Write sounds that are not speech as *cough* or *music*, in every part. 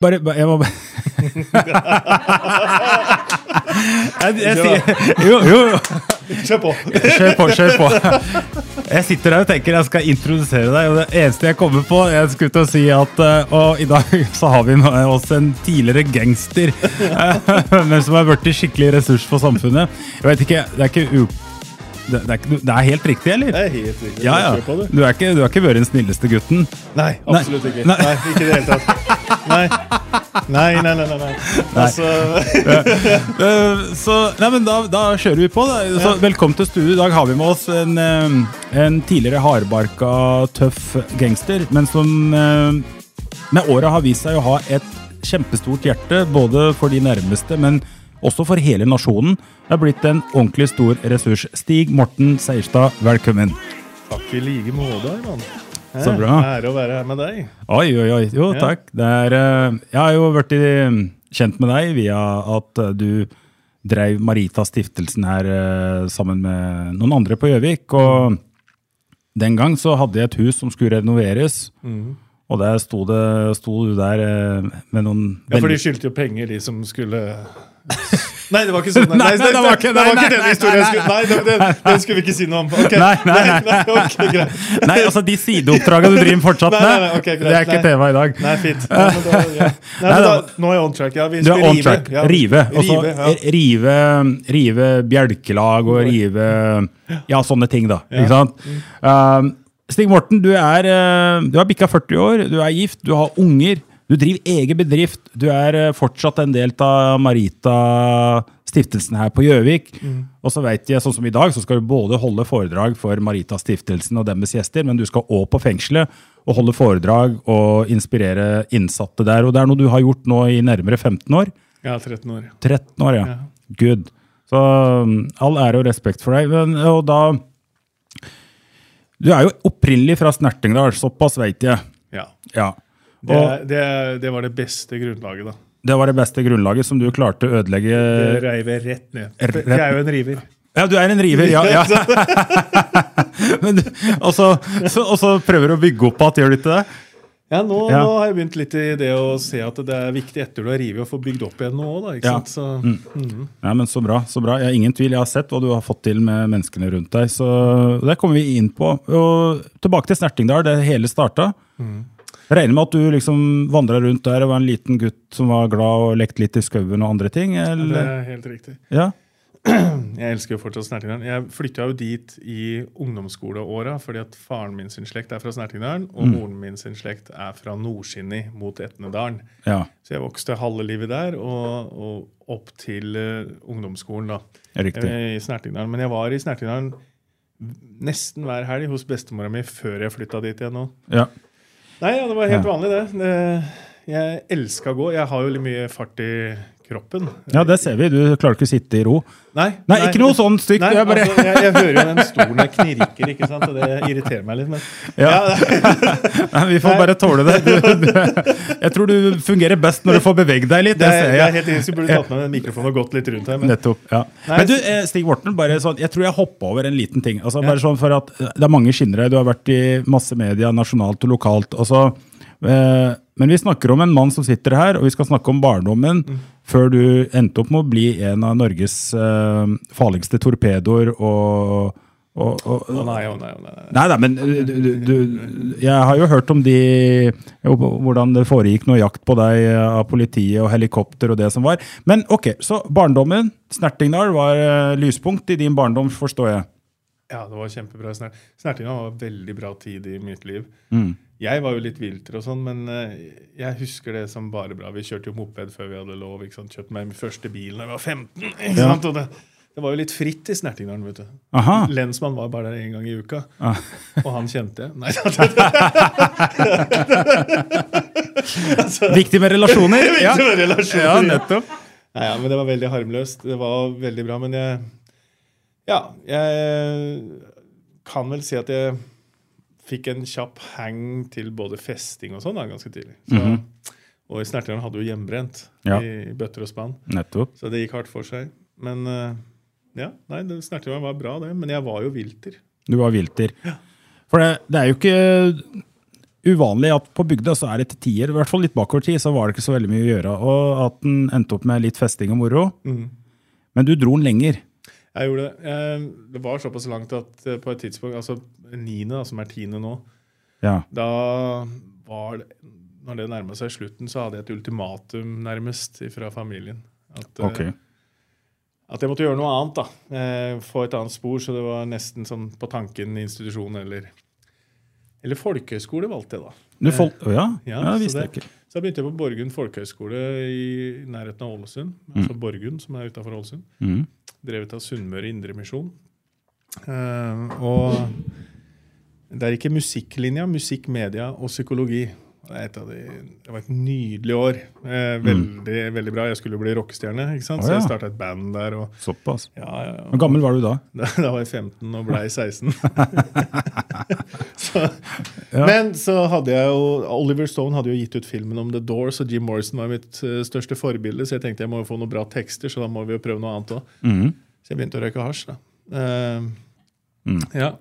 Bare, bare Jeg må bare *laughs* jeg, jeg, sier- jo, jo, jo. Kjør på! Kjør på, kjør på. Jeg sitter der og tenker jeg skal introdusere deg, og det eneste jeg kommer på Jeg skulle til å si at eh, Og i dag så har vi med oss en tidligere gangster, eh, *laughs* men som har blitt skikkelig ressurs for samfunnet. Jeg vet ikke, det er ikke u... Det, det, er, ikke- det er helt riktig, eller? Det er helt riktig. Ja, ja. Kjør på, du. Du har ikke, du har ikke vært den snilleste gutten. Nei, absolutt ikke. Nei. Nei, ikke i det hele tatt. Nei. Nei, nei, nei, nei. nei. Altså, Eh, så, nei, men da, da kjører vi på. Da. Så, Velkommen til studio. I dag har vi med oss en, eh, en tidligere hardbarka, tøff gangster, men som eh, med åra har vist seg å ha et kjempestort hjerte, både for de nærmeste, men også for hele nasjonen. Det er blitt en ordentlig stor ressurs. Stig Morten Seierstad, velkommen. takk i like måte, Arman. Så bra. Ære å være her med deg. Oi, oi, oi. Jo, Ja. takk. Det er, eh, jeg har jo vært i- kjent med deg via at eh, du drev Marita-stiftelsen her eh, sammen med noen andre på Gjøvik. Og Mm. den gang så hadde jeg et hus som skulle renoveres. Mm. Og der sto, det, sto du der eh, med noen Ja, for de veldig- skyldte jo penger, de som skulle Nei, det var ikke sånn. *laughs* Nei, nei, det var ikke- det var nei, ikke den nei, historien. nei, jeg skulle- Nei, den, den, den skulle vi ikke si noe om. Ok. Nei, nei, nei. ok, greit. Nei, altså de sideoppdragene du driver fortsatt med, *laughs* Nei, nei, nei, ok, greit, det er ikke nei. tema i dag. Nei, fint. Nei, men da, ja. nei, Nei, men da, da- nå er jeg on track. Ja, Du vi er skulle on rive, track. ja. Rive. Og så Rive, ja. rive, rive bjelkelag og rive Ja, sånne ting, da. Ikke sant? Um, Stig Morten, du, er, eh, du har bikka 40 år, du er gift, du har unger. Du driver egen bedrift. Du er eh, fortsatt en del av Marita-stiftelsen her på Gjøvik. Og så vet jeg, sånn som i dag, så skal du både holde foredrag for Marita-stiftelsen og deres gjester, men du skal òg på fengselet og holde foredrag og inspirere innsatte der. Og det er noe du har gjort nå i nærmere 15 år. Jeg er 13 år. 13 år, ja. Good. Så um, all ære og respekt for deg. Men, og da Du er jo opprinnelig fra Snertingdal, såpass veit jeg. Ja. Ja. Det, Og det, det var det beste grunnlaget, da. det var det beste grunnlaget som du klarte å ødelegge Det reiv jeg rett ned. Eh, rett For Jeg er jo en river. Ja, du er en river, *laughs* ja. *laughs* ja. Men du, og, så, så, og så prøver du å bygge opp igjen, gjør du ikke det? *laughs* Ja, nå, Ja. nå har jeg begynt litt i det å se at det er viktig etter du har revet, å få bygd opp igjen noe òg, da. Ja. Ikke Mm. sant? Så, mm, Nei, men Så bra. så bra. Jeg har ingen tvil. Jeg har sett hva du har fått til med menneskene rundt deg. så Det kommer vi inn på. Og Tilbake til Snertingdal, det hele starta. Jeg regner med at du liksom vandra rundt der og var en liten gutt som var glad og lekte litt i skauen og andre ting? Det eller? er helt riktig. *clears throat* Ja, Jeg elsker jo fortsatt Snertingdalen. Jeg flytta jo dit i ungdomsskoleåra fordi at faren min sin slekt er fra Snertingdalen, og Mm. moren min sin slekt er fra Nordkinni mot Etnedalen. ja, Så jeg vokste halve livet der og, og opp til eh, ungdomsskolen, da. riktig. Eh, I Snertingdalen. Men jeg var i Snertingdalen nesten hver helg hos bestemora mi før jeg flytta dit igjen nå. Ja, Nei, ja, det var helt Ja. vanlig, det. det jeg elska å gå. Jeg har jo litt mye fart i kroppen. ja det ser vi. Du klarer ikke å sitte i ro. Nei, Nei, ikke noe sånn stygt. Nei, Jeg bare altså, jeg, jeg hører jo den stolen her knirker, ikke sant? og det irriterer meg litt. Men, Ja. *laughs* Nei, vi får bare tåle det. Du, du, jeg tror du fungerer best når du får beveget deg litt. det, Det er, ser det jeg. er helt enig. Jeg Skulle burde tatt med den mikrofonen og gått litt rundt her. Men, Nettopp, ja. Nei, Men du, eh, Stig Morten, bare sånn, jeg tror jeg hoppa over en liten ting. Altså, bare sånn for at eh, Det er mange skinnere. Du har vært i masse media, nasjonalt og lokalt. Altså, eh, men vi snakker om en mann som sitter her, og vi skal snakke om barndommen Mm. før du endte opp med å bli en av Norges eh, farligste torpedoer og, og, og, Å og nei, å nei, å nei, nei. Nei, nei, men eh, du, du, du, jeg har jo hørt om de Hvordan det foregikk noe jakt på deg eh, av politiet og helikopter og det som var. Men ok, så barndommen. Snertingdal var eh, lyspunkt i din barndom, forstår jeg. Ja, det var kjempebra. Snert. Snertinga var veldig bra tid i mitt liv. Mm. Jeg var jo litt vilter og sånn, men eh, jeg husker det som bare bra. Vi kjørte jo moped før vi hadde lov. ikke sant? Kjøpte meg min første bil da jeg var 15. ikke sant? Og det, det var jo litt fritt i Snertingdalen, vet du. Aha. Lensmann var bare der én gang i uka, Ah. *laughs* og han kjente jeg. Nei, Viktig med relasjoner. Ja, *laughs* Viktig med relasjoner, ja ja. nettopp. Nei, ja, men det var veldig harmløst. Det var veldig bra, men jeg Ja, jeg kan vel si at jeg fikk en kjapp hang til både festing og sånn da, ganske tidlig. Så, Og Snerteren hadde jo hjemmebrent Ja. i bøtter og spann, nettopp. så det gikk hardt for seg. Men eh, ja, nei, det- Snerteren var bra, det. Men jeg var jo vilter. Du var vilter. For det, det er jo ikke uvanlig at på bygda så er det til tier, i hvert fall litt bakover tid, så var det ikke så veldig mye å gjøre. Og at den endte opp med litt festing og moro. Mm. Men du dro den lenger. Jeg gjorde det. Eh, Det var såpass langt at eh, på et tidspunkt, altså niende, da, som er tiende nå, Ja. Da var det Når det nærma seg slutten, så hadde jeg et ultimatum nærmest fra familien. At, eh, Ok. at jeg måtte gjøre noe annet. da. Eh, Få et annet spor. Så det var nesten sånn på tanken institusjon eller Eller folkehøyskole valgte jeg, da. Du fol Å Eh, ja? ja, det så, visste jeg det, ikke. så da begynte jeg på Borgund folkehøgskole i nærheten av Ålesund. Mm. Altså Borgund, som er utafor Ålesund. Mhm. Drevet av Sunnmøre Indremisjon. Eh, og det er ikke musikklinja, musikk, media og psykologi. Det, er et av de, det var et nydelig år. Eh, veldig, veldig bra. Jeg skulle jo bli rockestjerne, ikke sant? Mm. Å, så ja. jeg starta et band der. Og, Såpass. ja, ja, ja. Hvor gammel var du da? Da, da var jeg 15 og blei 16. så, Men så hadde jeg jo Oliver Stone hadde jo gitt ut filmen om The Doors, og Jim Morrison var mitt eh, største forbilde, så jeg tenkte jeg må jo få noen bra tekster, så da må vi jo prøve noe annet òg. Mm. Så jeg begynte å røyke hasj, da. Eh, Ja.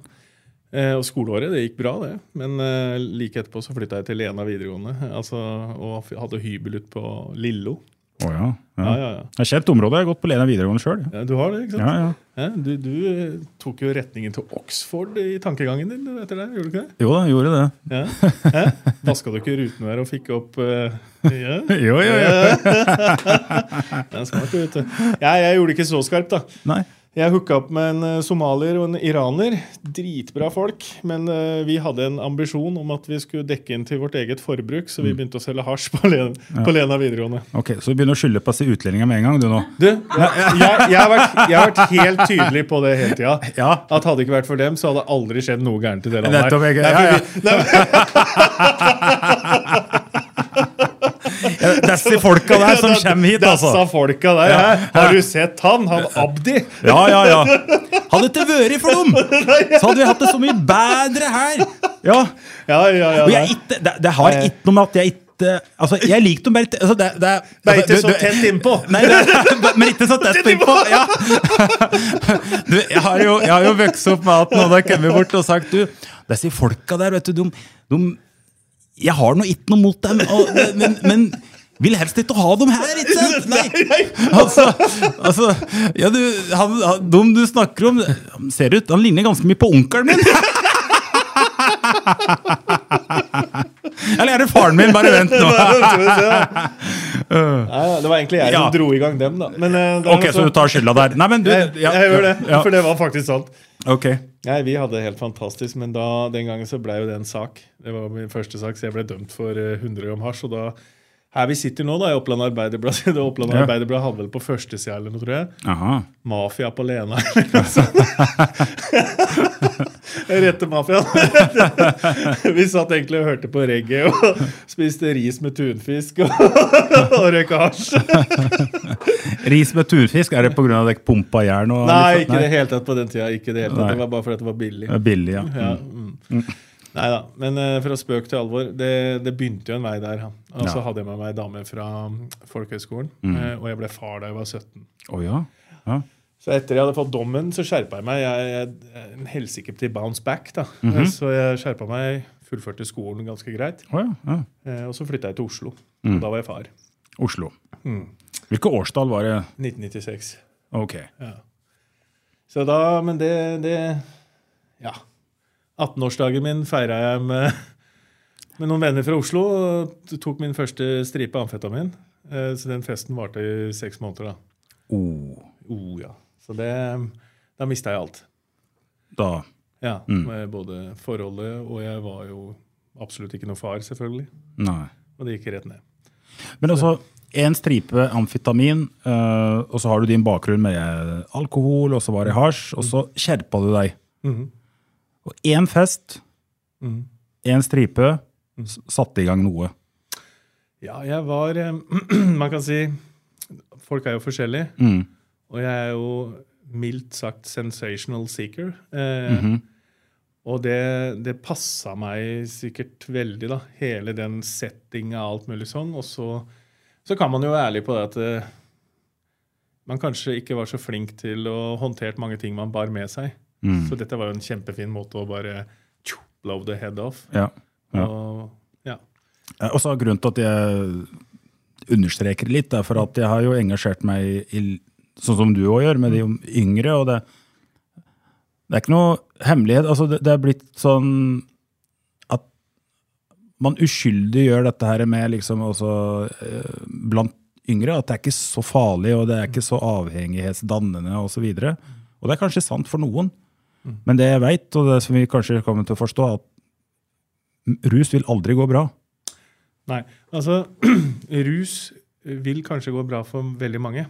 Eh, og skoleåret, det gikk bra, det. Men eh, like etterpå så flytta jeg til Lena videregående altså, og f- hadde hybel ute på Lillo. Å ja. ja. Ja, ja, ja. Det er kjent område. Jeg har gått på Lena videregående sjøl. ja. Du har det, ikke sant? Ja, ja. Hæ? Du, du eh, tok jo retningen til Oxford i tankegangen din du, etter det, gjorde du ikke det? Jo da, gjorde det. Ja. Hæ? Vaska du ikke rutene der og fikk opp eh, ja. *laughs* Jo, jo, jo. *laughs* Det er smart, vet du. Ja, jeg gjorde det ikke så skarpt, da. Nei. Jeg hooka opp med en eh, somalier og en iraner. Dritbra folk. Men eh, vi hadde en ambisjon om at vi skulle dekke inn til vårt eget forbruk, så Mm. vi begynte å selge hasj på Lena, på Lena videregående. Ok, Så du begynner å skylde på disse utlendingene med en gang, du nå? Du, jeg, jeg, jeg, har vært, jeg har vært helt tydelig på det hele tida. Ja. At hadde det ikke vært for dem, så hadde det aldri skjedd noe gærent i det landet. her. Nettopp. Jeg, Nei, ja, for ja. vi- Nei, men- That's *laughs* de folka der som Ja, kommer hit, da- altså. Dessa folka der. Ja. hæ? Har du sett han? Han Abdi? Ja, ja, *laughs* ja. Hadde det ikke vært for *laughs* dem, så hadde vi hatt det så mye bedre her. Ja, Ja, ja, ja. og ja. jeg ikke, det, det har ikke noe med at jeg ikke Altså, jeg liker dem bare ikke altså, det, det, Det er ikke altså, du- så du- tett innpå. *laughs* Nei, det, men ikke så tett innpå. Ja. *laughs* Du, jeg, har jo, jeg har jo vokst opp med at noen har kommet bort og sagt du, disse folka der, vet du, de, de Jeg har nå ikke noe mot dem, og, men, men vil helst ikke ha dem her, ikke sant? Nei. Altså, altså ja, du, han, han, De du snakker om, han ser ut Han ligner ganske mye på onkelen min. *laughs* Eller er det faren min? Bare vent nå. Ja, ja, det var egentlig jeg Ja. som dro i gang dem, da. Men, eh, det er Ok, noe så du tar skylda der. Nei, men du jeg, ja, jeg gjør det, ja, for det var faktisk sant. ok. Nei, Vi hadde det helt fantastisk, men da, den gangen så ble jo det en sak. Det var min første sak, så jeg ble dømt for eh, 100 gram hasj. Og da, her vi sitter nå, da, i Oppland Arbeiderblad *laughs* Det Oppland Ja. Arbeiderblad hadde vel på førstesida eller noe, tror jeg. Aha. Mafia på Lena. *laughs* eller noe sånt. Rette mafiaen. *laughs* Vi satt egentlig og hørte på reggae og spiste ris med tunfisk og, *laughs* og røyka hasj. Ris med tunfisk, er det pga. dere pumpa jern? Og Nei, ikke i det hele tatt på den tida. Ikke i det, hele tatt. det var bare fordi det var billig. liksom? Det er Billig, ja. Ja, mm. Nei da. Men eh, fra spøk til alvor. Det, det begynte jo en vei der. ja. Og så Ja. hadde jeg med meg ei dame fra mm, folkehøgskolen, eh, og jeg ble far da jeg var 17. Å ja. ja. Så etter jeg hadde fått dommen, så skjerpa jeg meg. Jeg, jeg, jeg er en helsike til bounce back, da. Så jeg skjerpa meg, fullførte skolen ganske greit. Å ja. ja. eh, Og så flytta jeg til Oslo. Og da var jeg far. Oslo. Mm. Hvilket årstall var det? 1996. Ok. Så da, men det, det Ja. 18-årsdagen min feira jeg med, med noen venner fra Oslo. og Tok min første stripe amfetamin. Eh, Så den festen varte i seks måneder, da. Oh, Oh, ja. Så det Da mista jeg alt. da. Ja, med både forholdet og jeg var jo absolutt ikke noen far, selvfølgelig. Nei. Og det gikk rett ned. Men altså, én stripe amfetamin, eh, og så har du din bakgrunn med eh, alkohol, og så var det hasj, og så skjerpa du deg. Mm-hmm. Og Mm. én fest, én stripe, s- satte i gang noe. Ja, jeg var eh, *clears throat* Man kan si Folk er jo forskjellige. Og jeg er jo mildt sagt sensational seeker. Eh, Og det, det passa meg sikkert veldig, da. Hele den settinga og alt mulig sånn. Og så, så kan man jo være ærlig på det at eh, man kanskje ikke var så flink til å håndtere mange ting man bar med seg. Så dette var jo en kjempefin måte å bare tjo, blow the head off. Ja. Ja. Og, ja. Eh, Også grunnen til at jeg understreker det litt, er for at jeg har jo engasjert meg i, i sånn som du òg gjør, med de yngre. og det, det er ikke noe hemmelighet. altså Det, det er blitt sånn at man uskyldig gjør dette her med liksom også eh, blant yngre, at det er ikke så farlig, og det er ikke så avhengighetsdannende osv. Og, så videre. og det er kanskje sant for noen, men det jeg veit, og det som vi kanskje kommer til å forstå, er at rus vil aldri gå bra. Nei, altså *clears throat* rus vil kanskje gå bra for veldig mange.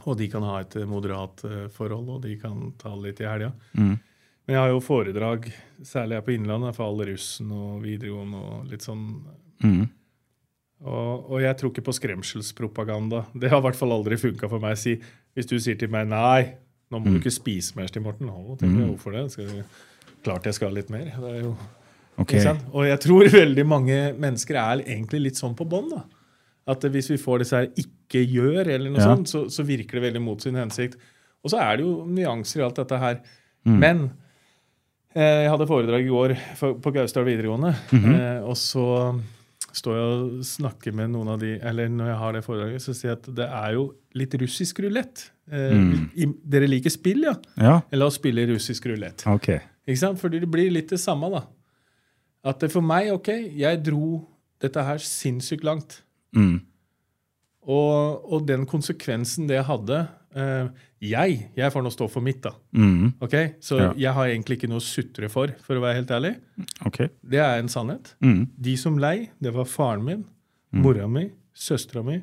Og de kan ha et moderat eh, forhold, og de kan ta litt i helga. Men jeg har jo foredrag, særlig her på Innlandet, for all russen og videregående og litt sånn. Og, og jeg tror ikke på skremselspropaganda. Det har i hvert fall aldri funka for meg. Si, hvis du sier til meg nei, nå må du ikke spise mer, Stig Morten. Å, tenker jeg, hvorfor det? Skal du... Klart jeg skal ha litt mer. Det er jo Ok. ikke sant? Og jeg tror *laughs* veldig mange mennesker er egentlig litt sånn på bånn. da. At eh, hvis vi får disse her ikke gjør, eller noe Ja. sånt, så, så virker det veldig mot sin hensikt. Og så er det jo nyanser i alt dette her. Mm. Men eh, jeg hadde foredrag i går for, på Gausdal videregående, Mhm. eh, og så står jeg og snakker med noen av de Eller når jeg har det foredraget, så sier jeg at det er jo litt russisk rulett. Eh, Mm. i- Dere liker spill, ja? Ja, La oss spille russisk rulett. ok. Ikke sant? Fordi det blir litt det samme, da. At det for meg, ok, jeg dro dette her sinnssykt langt. Mm. Og, og den konsekvensen det hadde eh, Jeg jeg får nå stå for mitt, da. Mm. ok? Så Ja. jeg har egentlig ikke noe å sutre for, for å være helt ærlig. Ok. Det er en sannhet. Mm. De som lei, det var faren min, mora mi, søstera mi,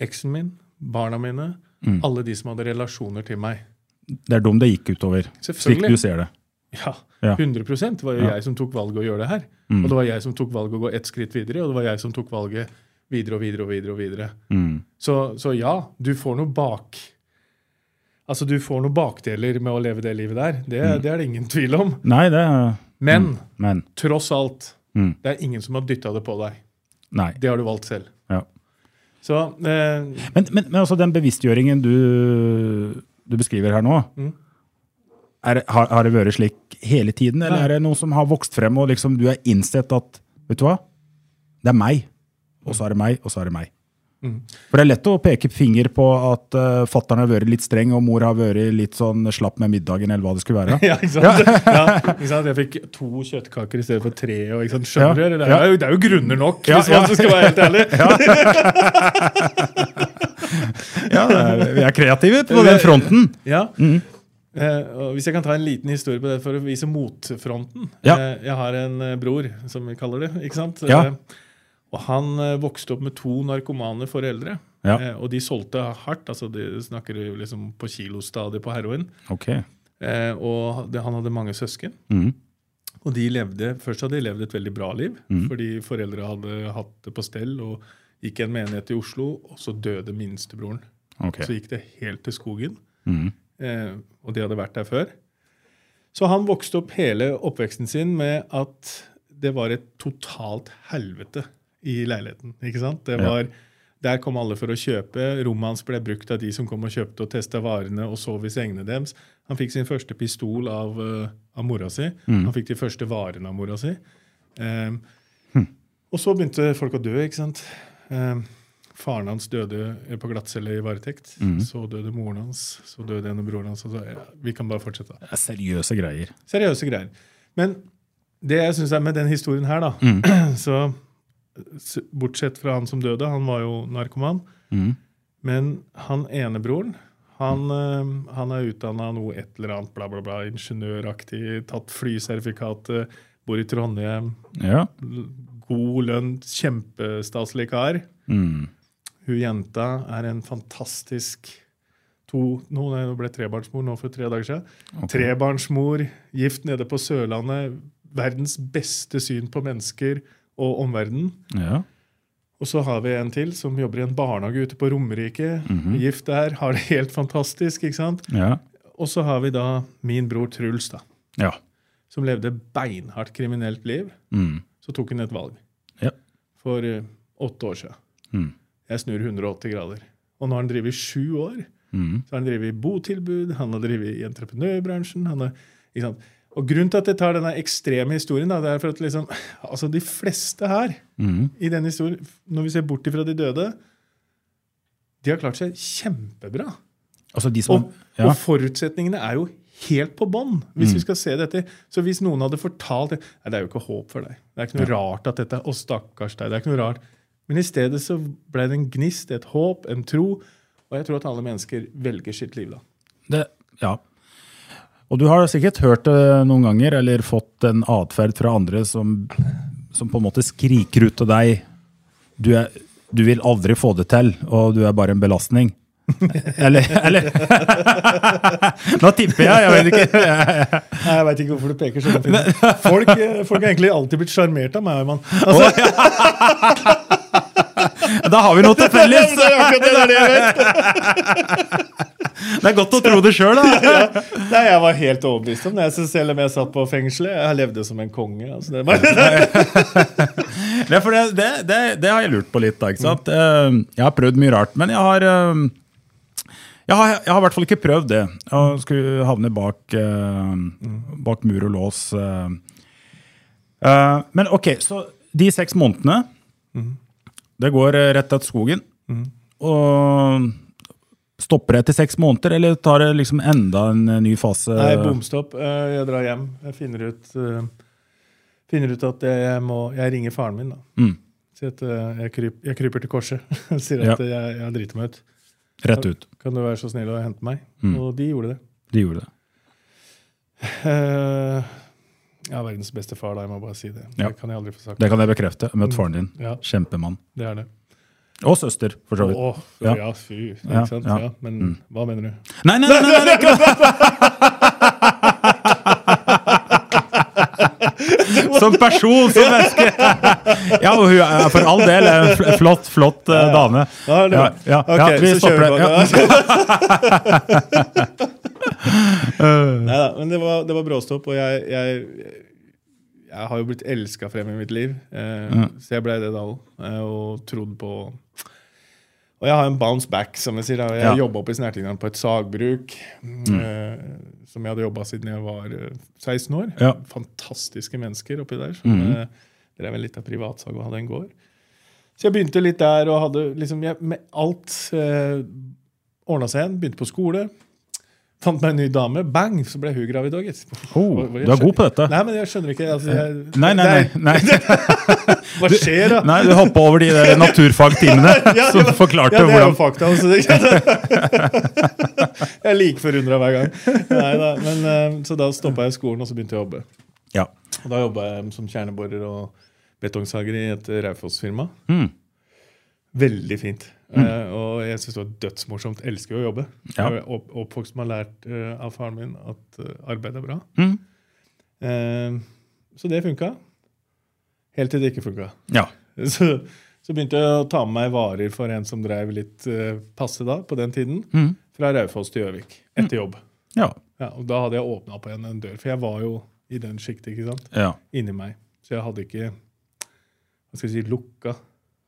eksen min, barna mine. Mm. Alle de som hadde relasjoner til meg. Det er dem det gikk utover, slik Selvfølgelig. du ser det. Ja, Ja. Mm. 100 Det var jo jeg som tok valget å gjøre det her. Og det var jeg som tok valget å gå ett skritt videre, og det var jeg som tok valget videre og videre og videre. og videre. Mm. Så, så ja, du får noe bak Altså, du får noen bakdeler med å leve det livet der. Det, Mm. det er det ingen tvil om. Nei, det er Men Men. tross alt, Mm. det er ingen som har dytta det på deg. Nei. Det har du valgt selv. Ja. Så eh, *laughs* Men, men, men altså den bevisstgjøringen du, du beskriver her nå, Mm. er, har, har det vært slik hele tiden, eller Nei. er det noe som har vokst frem, og liksom du er innsett at Vet du hva? Det er meg, og så er det meg, og så er det meg. Mm. For det er lett å peke finger på at uh, fattern har vært litt streng, og mor har vært litt sånn slapp med middagen, eller hva det skulle være. Ja, ikke sant? Ja, ikke sant? Jeg fikk to kjøttkaker i stedet for tre. Og, ikke sant? Skjønner Ja, dere? Det ja. er, jo, det er jo grunner nok, Ja, hvis ja. man skal være helt ærlig. Ja, det er, vi er kreative på den fronten. Ja. Mm. Eh, og hvis jeg kan ta en liten historie på det for å vise motfronten. Ja. Eh, jeg har en eh, bror, som vi kaller det. ikke sant? Ja. Eh, og Han eh, vokste opp med to narkomane foreldre. Ja. Eh, og de solgte hardt. altså De snakker jo liksom på kilostadiet på heroin. Ok. Eh, og det, han hadde mange søsken. Mhm. Og de levde, først hadde de levd et veldig bra liv, Mm. fordi foreldre hadde hatt det på stell og gikk i en menighet i Oslo, og så døde minstebroren. ok. Så gikk det helt til skogen, Mhm. eh, og de hadde vært der før. Så han vokste opp hele oppveksten sin med at det var et totalt helvete i leiligheten. ikke sant? Det var, Der kom alle for å kjøpe. Rommet hans ble brukt av de som kom og kjøpte og testa varene og sov i sengene deres. Han fikk sin første pistol av, eh, av mora si. Han fikk de første varene av mora si. Eh, og så begynte folk å dø, ikke sant. Eh, faren hans døde på glattcelle i varetekt. Så døde moren hans, så døde en av broren hans. Og så, ja, vi kan bare fortsette. Det er seriøse greier. Seriøse greier. Men det jeg syns er med den historien her, da *clears throat* så s- Bortsett fra han som døde, han var jo narkoman. Men han enebroren, han, eh, han er utdanna noe et eller annet bla, bla, bla, ingeniøraktig, tatt flysertifikatet, bor i Trondheim, Ja. god lønn, kjempestaselig kar. Mm. Hun jenta er en fantastisk to, nå, nei, Hun ble trebarnsmor nå for tre dager siden. Trebarnsmor, gift nede på Sørlandet. Verdens beste syn på mennesker og omverdenen. ja. Og så har vi en til som jobber i en barnehage ute på Romerike. Gift der, har det helt fantastisk. ikke sant? Ja. Og så har vi da min bror Truls, da, Ja. som levde beinhardt kriminelt liv. Mm. Så tok han et valg Ja. for eh, åtte år siden. Mm. Jeg snur 180 grader. Og nå har han drevet i sju år. Mm. Så har han drevet i botilbud, han har drevet i entreprenørbransjen. Han har, ikke sant? Og grunnen til at jeg tar denne ekstreme historien, da, det er for at liksom, altså de fleste her Mm. i denne historien, når vi ser bort ifra de døde, de har klart seg kjempebra. Altså de som Og, ja. og forutsetningene er jo helt på bånn. Hvis vi skal se dette. Så hvis noen hadde fortalt det Nei, det er jo ikke håp for deg. Det er ikke noe rart at dette Å, stakkars deg. Det er ikke noe rart. Men i stedet så ble det en gnist, et håp, en tro. Og jeg tror at alle mennesker velger sitt liv da. Det, ja. Og du har sikkert hørt det noen ganger, eller fått en atferd fra andre som, som på en måte skriker ut til deg du, er, du vil aldri få det til, og du er bare en *laughs* belastning. Eller, eller *laughs* Nå tipper jeg, jeg vet ikke. Nei, Jeg veit ikke hvorfor du peker sånn. *laughs* Finn. Folk, eh, folk har egentlig alltid blitt sjarmert av meg. *laughs* Man. Altså, Da har vi noe til felles! det, er akkurat det, det, er det, jeg vet. Det er godt å tro det sjøl, da. Nei, jeg var helt overbevist om det. Så selv om jeg satt på fengselet, jeg levde som en konge. Altså, det *laughs* var, Det, er for det, det, det, det har jeg lurt på litt. da, ikke sant? Eh, Jeg har prøvd mye rart, men jeg har eh, jeg har, jeg har i hvert fall ikke prøvd det. Å skulle havne bak, eh, bak mur og lås. eh. Eh, men OK, så de seks månedene Det går eh, rett til skogen. Og stopper det etter seks måneder, eller tar det liksom enda en eh, ny fase? Nei, bomstopp. Eh, Jeg drar hjem. Jeg finner ut, eh, finner ut at jeg, må, jeg ringer faren min. da. Mm. Sier at eh, jeg, kryp, jeg kryper til korset. *laughs* Sier Ja. at eh, jeg, jeg driter meg ut. Rett ut. Kan du være så snill å hente meg? Mm. Og de gjorde det. De gjorde det. Eh, Jeg er verdens beste far, da. Jeg må bare si det. Ja. Det kan jeg aldri få sagt. Det kan jeg bekrefte. Møtt faren din. Mm. Ja, Kjempemann. det er det. Og søster, for så vidt. Åh, Ja. ja. fy. Ikke Ja, sant? ja. Mm. Ja, men hva mener du? Nei, nei, nei, nei, nei, det er ikke *laughs* det. Som person, som menneske. *laughs* Ja, og hun er for all del en fl- flott, flott eh, dame. Ja, det Ja, var- ja, ja, Ok, vi så stopper kjører vi det. på. Ja. *laughs* *laughs* Neida, men det var, det var bråstopp, og jeg, jeg, jeg har jo blitt elska frem i mitt liv. Eh, Mm. Så jeg blei det da òg, eh, og trodd på Og jeg har en bounce back, som jeg sier. da. Jeg Ja. Mm. jobba oppe i Snertingdalen på et sagbruk eh, som jeg hadde jobba siden jeg var eh, 16 år. Ja. Mm. Fantastiske mennesker oppi der som eh, drev en liten privatsag og hadde en gård. Så jeg begynte litt der, og hadde liksom jeg, med alt eh, ordna seg igjen. Begynte på skole. Fant meg en ny dame. Bang, så ble hun gravid òg, gitt. Oh, du er god på dette. Nei, men jeg skjønner ikke. Altså, jeg, Nei, nei, det nei. er- nei. Hva skjer, da? nei du hoppa over *laughs* de der naturfagtimene Ja, som ja, forklarte ja, det er jo hvordan fakta. Altså, det, *laughs* jeg er like forundra hver gang. Nei, da, men, eh, så da stoppa jeg skolen, og så begynte jeg å jobbe. Ja. Og da jobba jeg som kjerneborer og betongsager i et Raufoss-firma. Mm. Veldig fint. Eh, og jeg syns det var dødsmorsomt. Elsker jo å jobbe. Ja. Jeg er opp, oppvokst med å ha lært eh, av faren min at eh, arbeid er bra. Mm. Eh, så det funka. Helt til det ikke funka. Ja. *laughs* Så, så begynte jeg å ta med meg varer for en som drev litt eh, passe da, på den tiden. Mm. Fra Raufoss til Gjøvik etter jobb. Ja. Ja, og da hadde jeg åpna opp igjen en dør, for jeg var jo i den sjiktet. ikke sant? ja. Inni meg. Så jeg hadde ikke hva skal jeg si, lukka.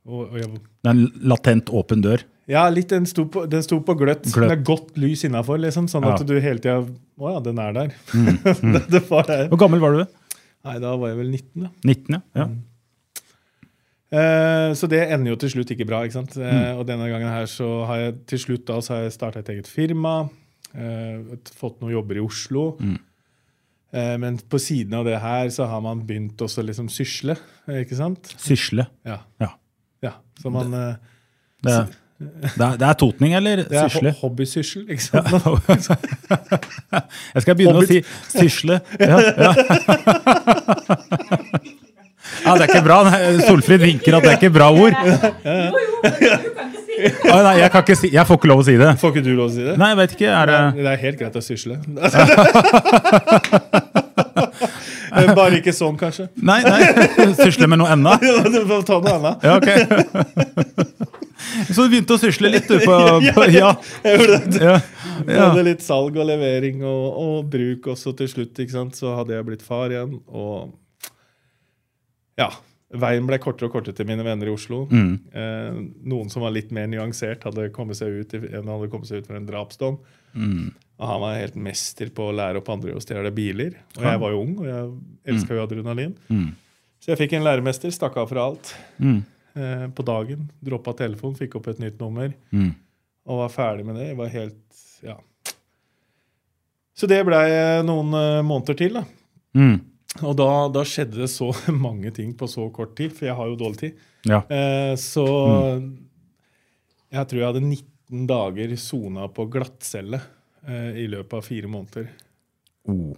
Og, og jeg, Det er en latent åpen dør. ja, litt den sto på, den sto på gløtt. Gløtt. Med godt lys innafor, liksom, sånn Ja. Mm, at du hele tida Å ja, den er der. *laughs* det, det var der. Hvor gammel var du? Nei, da var jeg vel 19, da. 19, ja. ja. Eh, Så det ender jo til slutt ikke bra. ikke sant? Mm. Eh, Og denne gangen her så har jeg til slutt da så har jeg starta et eget firma. eh, Fått noen jobber i Oslo. Mm. Eh, Men på siden av det her så har man begynt også å liksom sysle. eh, Ikke sant? Sysle. Ja. Ja. ja. Så man eh, Det er, det er, det er totning eller Det er ho- sysle? hobbysyssel, ikke sant? Jeg skal begynne Hobbit. å si sysle. Ja, ja. *laughs* ja, det er ikke bra. Nei, Solfrid vinker at det er ikke bra ord. Jo, jo, men du kan ikke si det. Å, nei, jeg, kan ikke si, jeg får ikke lov å si det. Får ikke du lov til å si det? Nei, jeg vet ikke. Er det Det er helt greit å sysle. *laughs* Eh, Bare ikke sånn, kanskje. *laughs* Nei, nei. Sysle med noe ennå? Du får ta noe annet. Ja, ok. Så du begynte å sysle litt, du? På, *laughs* på, ja. Jeg gjorde det. ja. ja. Både litt salg og levering og, og bruk også til slutt. ikke sant? Så hadde jeg blitt far igjen, og Ja. Veien ble kortere og kortere til mine venner i Oslo. Eh, noen som var litt mer nyansert, hadde kommet seg ut, i- en hadde kommet seg ut for en drapsdom. Og han var helt mester på å lære opp andre å stjele biler. Og jeg var jo ung, og jeg elska jo adrenalin. Så jeg fikk en læremester, stakk av fra alt. Eh, på dagen. Droppa telefon, fikk opp et nytt nummer. Og var ferdig med det. Jeg var helt Ja. Så det blei noen eh, måneder til, da. Mm. Og da, da skjedde det så *laughs* mange ting på så kort tid, for jeg har jo dårlig tid. ja. Eh, så jeg tror jeg hadde 19 dager sona på glattcelle eh, i løpet av fire måneder. Oh.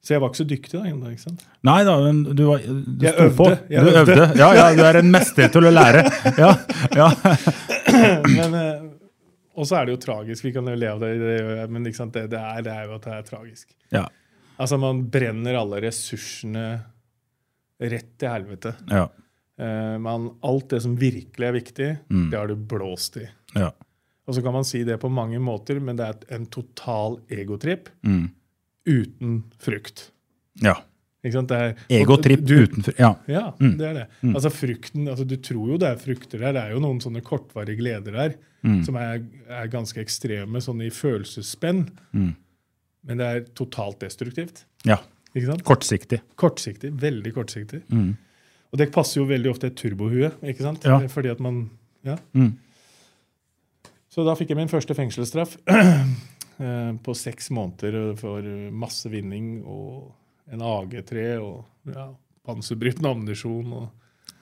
Så jeg var ikke så dyktig da ennå. ikke sant? Nei da, men du, var, du Jeg sto øvde, på. jeg du øvde. øvde. Ja, ja, du er en mester til å lære. Ja, ja. Men, eh, og så er det jo tragisk. Vi kan jo le av det, det gjør jeg, men ikke sant? Det, det, er, det er jo at det er tragisk. ja. Altså, man brenner alle ressursene rett til helvete. ja. Eh, man, alt det som virkelig er viktig, det har du blåst i. ja. Og så kan man si det på mange måter, men det er en total egotripp uten frukt. ja. Ikke sant? Det er, Egotripp du- utenfor Ja. Ja, det er det. Altså frukten, altså Du tror jo det er frukter der. Det er jo noen sånne kortvarige gleder der som er, er ganske ekstreme, sånn i følelsesspenn. Men det er totalt destruktivt. ja. ikke sant? Kortsiktig. Kortsiktig. Veldig kortsiktig. Og det passer jo veldig ofte et turbohue. ikke sant? Mm. Eh, Ja. Fordi at man, ja. Mm. Så da fikk jeg min første fengselsstraff *clears throat* eh, på seks måneder eh, for masse vinning og en AG3 og ja, panserbrytende ammunisjon og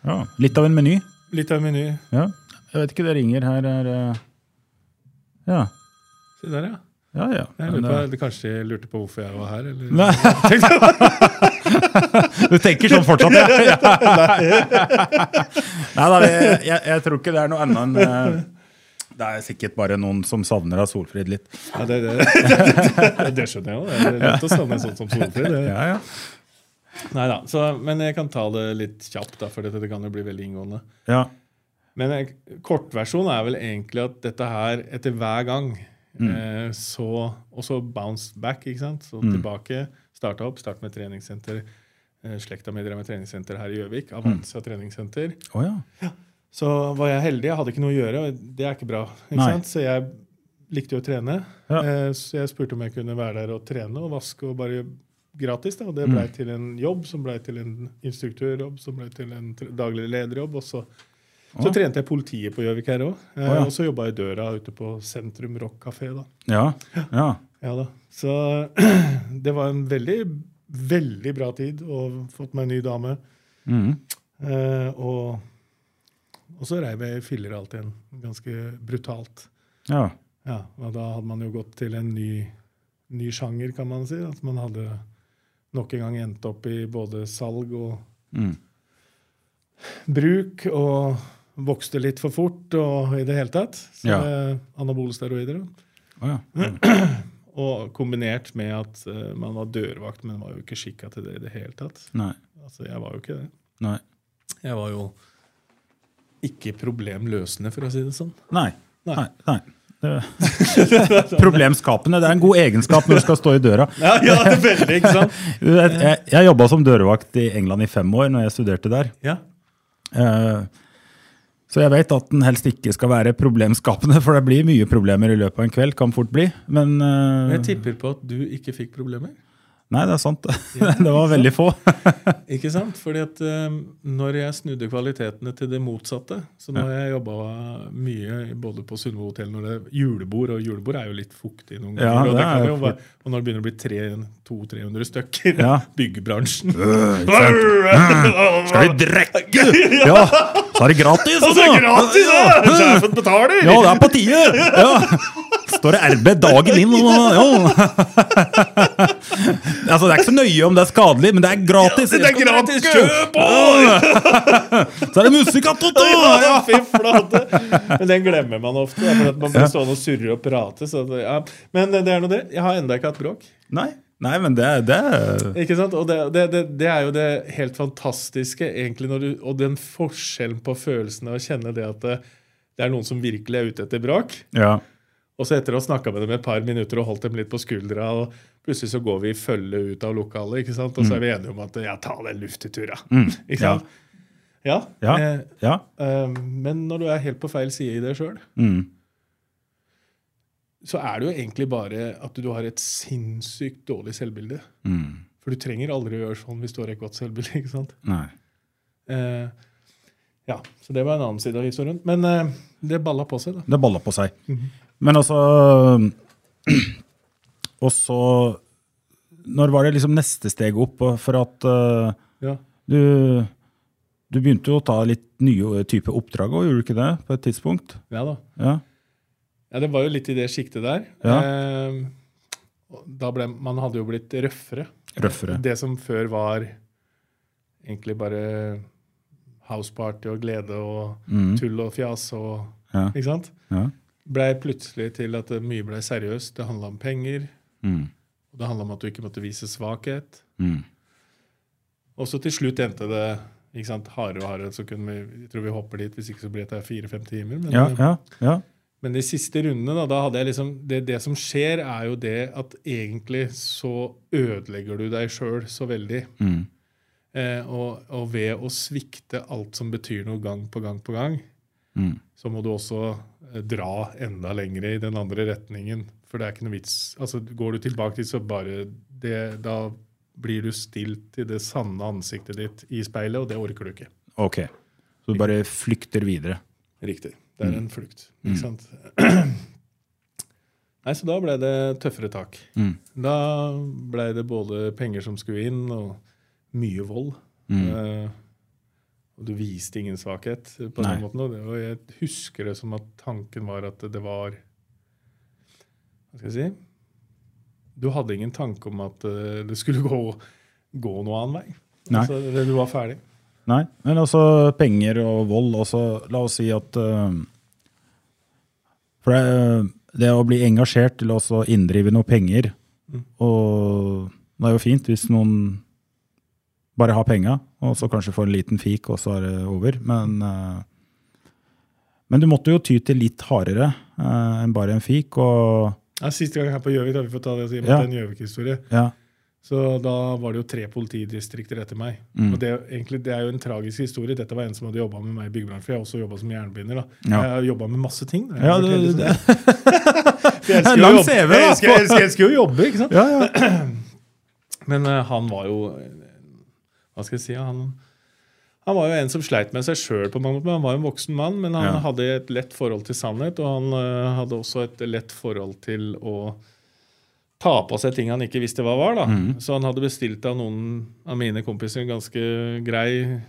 Ja. Litt av en meny. litt av en meny. Ja. Jeg vet ikke, det ringer her er eh, Ja. Se der, ja. Ja, ja. Jeg Men, lurer på, eh, eller Kanskje jeg lurte på hvorfor jeg var her? Eller? Nei. Du tenker sånn fortsatt, *laughs* ja? ja. *laughs* Nei da, det, jeg, jeg tror ikke det er noe annet enn eh, Det er sikkert bare noen som savner av Solfrid litt. Ja, det, det, det, det *laughs* skjønner jeg jo. Det er lett å savne en sånn som Solfrid. det- Ja, ja. Nei da. så- Men jeg kan ta det litt kjapt, da, for dette det kan jo bli veldig inngående. ja. Men jeg- kortversjonen er vel egentlig at dette her, etter hver gang eh, så, Og så bounce back, ikke sant? Så tilbake. Starta opp. Start med treningssenter. eh, Slekta mi drev med treningssenter her i Gjøvik. Avanza treningssenter. Å, ja. Så var jeg heldig. Jeg hadde ikke noe å gjøre. og Det er ikke bra. ikke Nei. sant? Så jeg likte jo å trene. Ja. Eh, Så jeg spurte om jeg kunne være der og trene og vaske og bare gratis. Da. Mm. Og det blei til en jobb, som blei til en instruktørjobb, som blei til en tr- daglig lederjobb. Og så, så trente jeg politiet på Gjøvik her òg. Eh, Å, ja. Og så jobba jeg i døra ute på Sentrum Rock kafé. Da. Ja. ja. Ja, da. Så *clears throat* det var en veldig, veldig bra tid og fått meg en ny dame. Mhm. Eh, og, og så reiv jeg filler alt igjen. Ganske brutalt. ja. Ja, og da hadde man jo gått til en ny, ny sjanger, kan man si. At man hadde nok en gang endt opp i både salg og Mm. bruk, og vokste litt for fort og i det hele tatt. Så Ja. eh, Anabole steroider. da. Å, ja. Og kombinert med at eh, man var dørvakt, men var jo ikke skikka til det i det hele tatt. Nei. Altså, jeg var jo ikke det. Nei. Jeg var jo ikke problemløsende, for å si det sånn. Nei. Nei. Nei. Nei. Det, *laughs* problemskapende. Det er en god egenskap når du skal stå i døra. Ja, ja det er veldig, ikke sant? Du vet, Jeg, jeg jobba som dørvakt i England i fem år når jeg studerte der. *laughs* Ja. Eh, Så jeg vet at den helst ikke skal være problemskapende, for det blir mye problemer i løpet av en kveld. Kan fort bli. Men eh, Jeg tipper på at du ikke fikk problemer. Nei, det er sant. *laughs* Det var veldig få. Ikke sant? Fordi at eh, når jeg snudde kvalitetene til det motsatte Så nå har jeg jobba mye både på Sundvo hotell når det er julebord, og julebord er jo litt fuktig noen Ja, ganger. og, det det kan er jo være, og når det begynner å bli tre- 200-300 stykker i Ja. byggebransjen Øh, *laughs* Mm. Skal vi drikke?! Ja, så er det gratis! altså! Og så er det gratis! da! Sjefen betaler! Ja, det er på tide! Ja. Står det RB dagen inn? og- Ja. Altså, det er ikke så nøye om det er skadelig, men det er gratis! det er gratis! Kjøp Så er det musikk attåt! Ja, Ja. fy flate! Men den glemmer man ofte. eh, da, For at man blir stående og surre og prate. Så det, ja. Men det er noe det. Jeg har enda ikke hatt bråk. Nei. Nei, men det, det er Ikke sant? Og det, det, det, det er jo det helt fantastiske, egentlig, når du, og den forskjellen på følelsen av å kjenne det at det, det er noen som virkelig er ute etter brak. Ja. Og så etter å ha snakka med dem et par minutter og holdt dem litt på skuldra, og plutselig så går vi i følge ut av lokalet, ikke sant? og så er vi enige om at ja, ta den luftetura. Ikke sant? Mm. Ja. Ja. eh, ja. eh, men når du er helt på feil side i det sjøl, Mm. så er det jo egentlig bare at du har et sinnssykt dårlig selvbilde. Mm. For du trenger aldri å gjøre sånn hvis du har et godt selvbilde. *laughs* ikke sant? Nei. Eh, ja, så det var en annen side av historien. Men eh, det balla på seg, da. Det balla på seg. Men altså Og så Når var det liksom neste steg opp? Og For at eh, Ja. du, du begynte jo å ta litt nye type oppdrag òg, gjorde du ikke det? På et tidspunkt? Ja, da. Ja. ja, det var jo litt i det siktet der. Ja. Eh, og da ble, man hadde jo blitt røffere. Røffere. Det som før var egentlig bare houseparty og glede og tull og fjas og Ja. Ikke sant? Ja. Blei plutselig til at det mye blei seriøst. Det handla om penger. Mm. Og det handla om at du ikke måtte vise svakhet. Mm. Og så til slutt endte det ikke sant, hardere og hardere. Så kunne vi, jeg tror vi hopper dit, hvis ikke så blir dette fire-fem timer. Men, Ja, ja, ja. men de siste rundene, da, da hadde jeg liksom det, det som skjer, er jo det at egentlig så ødelegger du deg sjøl så veldig. Mm. Eh, og, og ved å svikte alt som betyr noe gang på gang på gang, Mm. så må du også eh, dra enda lenger i den andre retningen. For det er ikke noe vits. Altså, Går du tilbake dit, så bare det, Da blir du stilt i det sanne ansiktet ditt i speilet, og det orker du ikke. Ok. Så du bare flykter videre. Riktig. Det Mm. er en flukt. Ikke sant? *clears throat* Nei, så da ble det tøffere tak. Mm. Da ble det både penger som skulle inn, og mye vold. Eh, og du viste ingen svakhet på Mm. Nei. den måten. Og, det, og jeg husker det som at tanken var at det var Hva skal jeg si? Du hadde ingen tanke om at eh, det skulle *laughs* gå, gå noe annen vei. Nei. Altså, det- du var ferdig. Nei, men altså penger og vold altså, La oss si at eh, For det, eh, det å bli engasjert til å også inndrive noe penger Og det er jo fint hvis noen bare har penga, og så kanskje får en liten fik, og så er det over. Men, eh, men du måtte jo ty til litt hardere eh, enn bare en fik. Og, Ja, siste gang her på Gjøvik, da vi får ta det og si Ja. om at det er en Gjøvik-historie. ja, Så da var det jo tre politidistrikter etter meg. Mm. Og det, er jo egentlig, det er jo en tragisk historie. Dette var en som hadde jobba med meg i byggebransjen. For jeg har også jobba som jernbinder. da. Ja. Jeg har jobba med masse ting. da. Jeg ja, har vært det, veldig sånn- det, Jeg elsker Lang jo å jobbe. CV, da. Jeg elsker, jeg elsker, jeg elsker jo å jobbe, ikke sant? ja, ja. *clears throat* Men eh, han var jo eh, Hva skal jeg si? Han, han var jo en som sleit med seg sjøl på mange måter. Han var jo en voksen mann, men han Ja. hadde et lett forhold til sannhet. Og han eh, hadde også et lett forhold til å ta på seg ting han ikke visste hva var. da. Mm. Så han hadde bestilt av noen av mine kompiser en ganske grei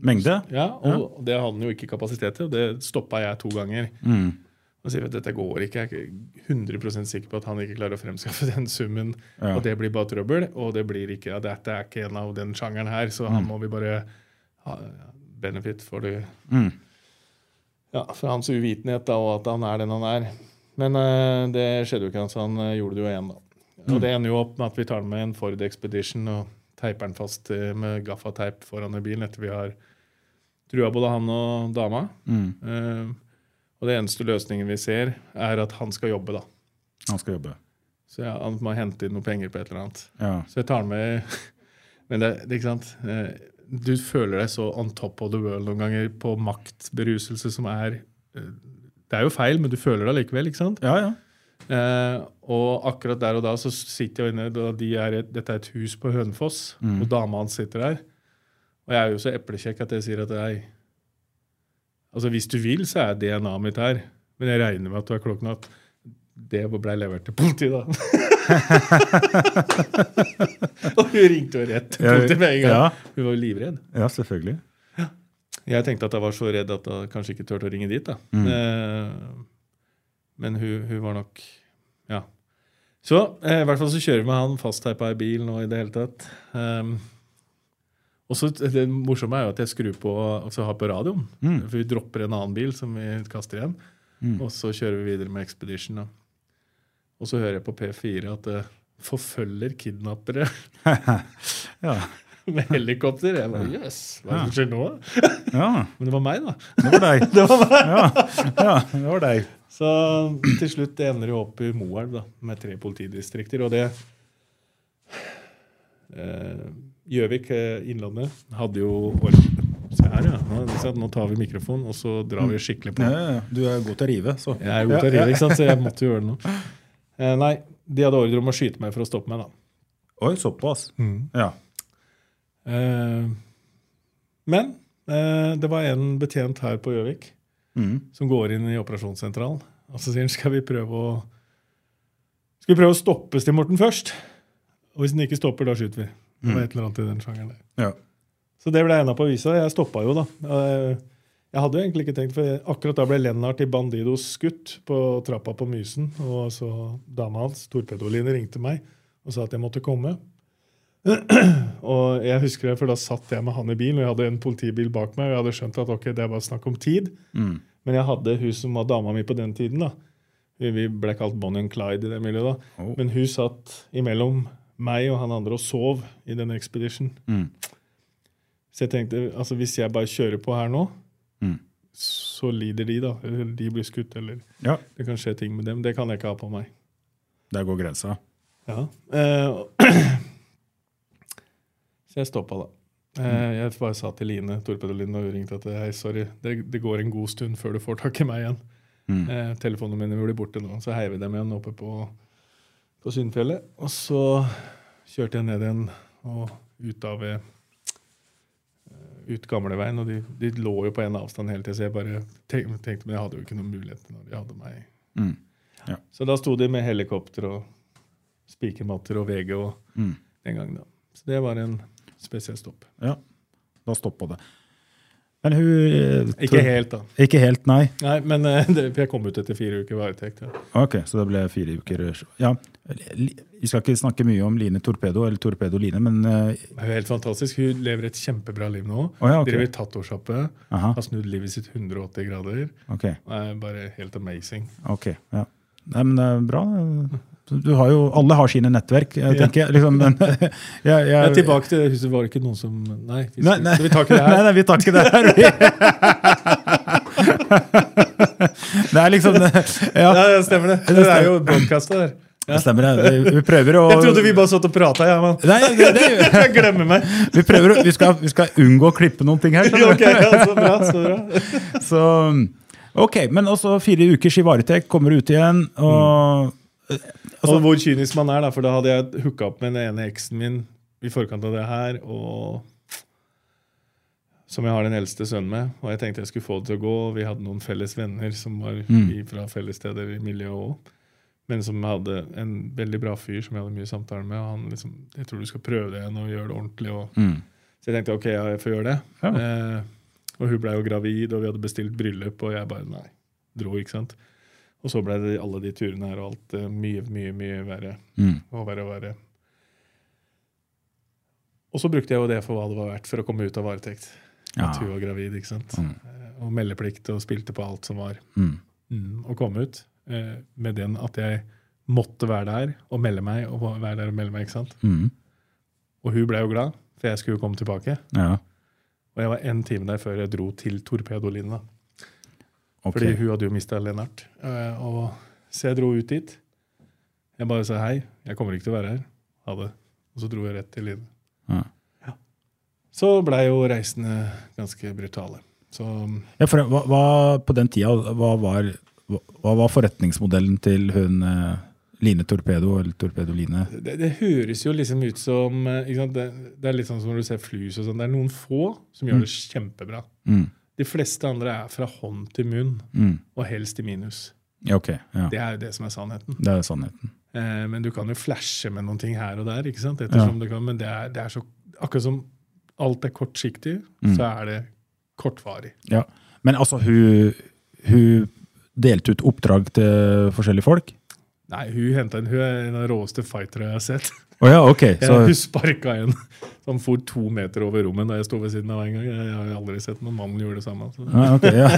Mengde. ja, Og det hadde han jo ikke kapasitet til, og det stoppa jeg to ganger. Mm. Og sier at dette går ikke. Jeg er ikke 100 sikker på at han ikke klarer å fremskaffe den summen. Ja. Og det blir bare trøbbel. Og det blir ikke, ja, dette er ikke en av den sjangeren her, så han må vi bare ha benefit for det. Mm. Ja, for hans uvitenhet da, og at han er den han er. Men eh, det skjedde jo ikke, så han eh, gjorde det jo igjen, da. Mm. Og det ender jo opp med at vi tar med en Ford Expedition og teiper den fast eh, med gaffateip foran i bilen etter vi har trua både han og dama. Mm. Eh, og det eneste løsningen vi ser, er at han skal jobbe, da. Han skal jobbe. Så jeg, han må hente inn noe penger på et eller annet. Ja. Så jeg tar den med *laughs* Men det, det er ikke sant. Eh, Du føler deg så on top of the world noen ganger på maktberuselse som er eh, Det er jo feil, men du føler det allikevel, ikke sant? ja, ja. Eh, og akkurat der og da så sitter jeg inne da de er, et- Dette er et hus på Hønefoss, Mm. og dama hans sitter der. Og jeg er jo så eplekjekk at jeg sier at jeg Altså Hvis du vil, så er DNA-et mitt her. Men jeg regner med at du er klok nok. Det blei levert til politiet, *laughs* da. *laughs* og hun ringte jo rett til politiet med en gang. Ja. Hun var jo livredd. ja selvfølgelig. Jeg tenkte at jeg var så redd at jeg kanskje ikke turte å ringe dit. da. Eh, men hun, hun var nok Ja. Så eh, i hvert fall så kjører vi med han fastteipa i bil nå i det hele tatt. Um, og så eh, Det morsomme er jo at jeg skrur på altså har på radioen. For vi dropper en annen bil som vi kaster igjen. Og så kjører vi videre med Expedition. da. Og så hører jeg på P4 at eh, forfølger kidnappere Ja. *laughs* med helikopter. Jeg bare, Jøss, hva er det som skjer nå? ja. Men det var meg, da. *laughs* Det var deg. det var meg. Ja. ja, det var deg. Så til slutt det ender jo opp i Moelv da, med tre politidistrikter. Og det eh, Gjøvik, eh, Innlandet, hadde jo or- Se her, ja. Nå, så nå tar vi mikrofonen, og så drar vi skikkelig på. Ja, ja, ja. Du er god til å rive, så. Jeg er god til å rive, ikke sant? så jeg måtte jo gjøre det nå. Eh, nei, de hadde ordre om å skyte meg for å stoppe meg, da. Oi, såpass. Ja. Eh, men eh, det var en betjent her på Gjøvik Mm. som går inn i operasjonssentralen. Og så sier han skal vi prøve å skal vi prøve å stoppe Stig Morten først. Og hvis den ikke stopper, da skyter vi. Det var et eller annet i den sjangeren der. ja. Så det ble jeg enda på avisa. Jeg stoppa jo, da. Eh, Jeg hadde jo egentlig ikke tenkt, for akkurat da ble Lennart i Bandidos skutt på trappa på Mysen. Og så dama hans, Torpedoline, ringte meg og sa at jeg måtte komme. *clears throat* og jeg husker det, for da satt jeg med han i bilen, og jeg hadde en politibil bak meg. Og jeg hadde skjønt at ok, det var snakk om tid. Men jeg hadde hun som var dama mi på den tiden. da. Vi- Vi ble kalt Bonnie and Clyde i det miljøet. da. Oh. Men hun satt imellom meg og han andre og sov i den expedition. Så jeg tenkte, altså hvis jeg bare kjører på her nå, Mm. så lider de da. Eller de blir skutt, eller ja. det kan skje ting med dem. Det kan jeg ikke ha på meg. Der går grensa. Ja. Eh, *clears throat* så jeg stoppa, da. Eh, jeg bare sa til Line, Torpedo-Line, og hun ringte at hei, sorry, det, det går en god stund før du får tak i meg igjen. Eh, telefonene mine blir borte nå, så heier vi dem igjen oppe på, på Syndfjellet. Og så kjørte jeg ned igjen og ut av eh, ut gamleveien, og de, de lå jo på en avstand hele tiden, så jeg bare tenk- tenkte, men jeg hadde jo ikke noen mulighet når de hadde meg. Mm. Ja. Så da sto de med helikopter og spikermatter og VG og Mm. den gangen da. Så det var en spesiell stopp. Ja. Da stoppa det. Men hun eh, Ikke helt da. Ikke helt, nei. Nei, men eh, *laughs* det, for jeg kom ut etter fire uker varetekt. Ja. Ok, Så det ble fire uker Ja, li- Vi skal ikke snakke mye om Line Torpedo eller Torpedo Line, men eh, Det er jo helt fantastisk. Hun lever et kjempebra liv nå. Å ja, ok. Driver tattoosjappe. Aha. Har snudd livet sitt 180 grader. Ok. Det er bare helt amazing. ok, ja. Nei, men det er bra. Du har jo, alle har sine nettverk, eh, tenker jeg. Liksom, *laughs* men, *laughs* jeg, jeg, Jeg er tilbake til det huset. Var det ikke noen som Nei, vi, Nei, nei. Så vi tar ikke det her. *laughs* Nei, nei, vi tar ikke det her. vi. det er liksom Ja, Ja, det stemmer det. Det er jo broadcasta *laughs* der. det stemmer. det. Vi- Vi prøver å Jeg trodde vi bare satt og prata, jeg, mann. Nei, det, det, *laughs* Jeg glemmer *laughs* meg. vi, prøver, å- vi, skal, vi skal unngå å klippe noen ting her. *laughs* skjønner du? Ok, ja, så bra, så bra. Så, ok, men også fire ukers i varetekt, kommer ut igjen, og Og Altså, hvor kynisk man er, da, for da hadde jeg hooka opp med den ene eksen min i forkant av det her, og som jeg har den eldste sønnen med. Og jeg tenkte jeg skulle få det til å gå. og Vi hadde noen felles venner som var i- fra fellessteder i miljøet òg. Men som hadde en veldig bra fyr som jeg hadde mye samtaler med. Og han liksom, jeg tror du skal prøve det igjen og gjøre det ordentlig. Og, Mm, Så jeg tenkte ok, ja, jeg får gjøre det. Ja. Eh, og hun blei jo gravid, og vi hadde bestilt bryllup, og jeg bare nei, dro, ikke sant. Og så blei det alle de turene her og alt eh, mye, mye, mye verre. Mm. Og verre og verre. Og så brukte jeg jo det for hva det var verdt for å komme ut av varetekt. Ja. At hun var gravid, ikke sant. Eh, Og meldeplikt og spilte på alt som var. Mm. Mm, og kom ut eh, med den at jeg måtte være der og melde meg. Og var- være der og melde meg, ikke sant? Mm. Og hun blei jo glad, for jeg skulle jo komme tilbake. Ja. Og jeg var en time der før jeg dro til Torpedolinja. ok. Fordi hun hadde jo mista Lennart. Eh, Og så jeg dro ut dit. Jeg bare sa hei, jeg kommer ikke til å være her. Ha det. Og så dro jeg rett til Line. Ja. Så blei jo reisene ganske brutale. Så um, Ja, for hva, hva, på den tida, hva var, hva var forretningsmodellen til hun eh, Line Torpedo, eller Torpedo Line? det, det høres jo liksom ut som eh, ikke sant? Det, det er litt sånn som når du ser flus og sånn. Det er noen få som gjør det kjempebra. Mm. De fleste andre er fra hånd til munn, Mm. og helst i minus. Ja, ok. Ja. Det er jo det som er sannheten. Det er sannheten. Eh, men du kan jo flashe med noen ting her og der. ikke sant? Ettersom du kan, Men det er, det er så Akkurat som alt er kortsiktig, Mm. så er det kortvarig. Ja. Men altså, hun, hun delte ut oppdrag til forskjellige folk? Nei, hun hentet en, hun er en av de råeste fightere jeg har sett. Å ja, ok. Jeg, Så, hun sparka en som for to meter over rommet da jeg sto ved siden av en gang. Jeg, jeg har aldri sett noen mann gjøre det samme. altså. ja, ok, ja.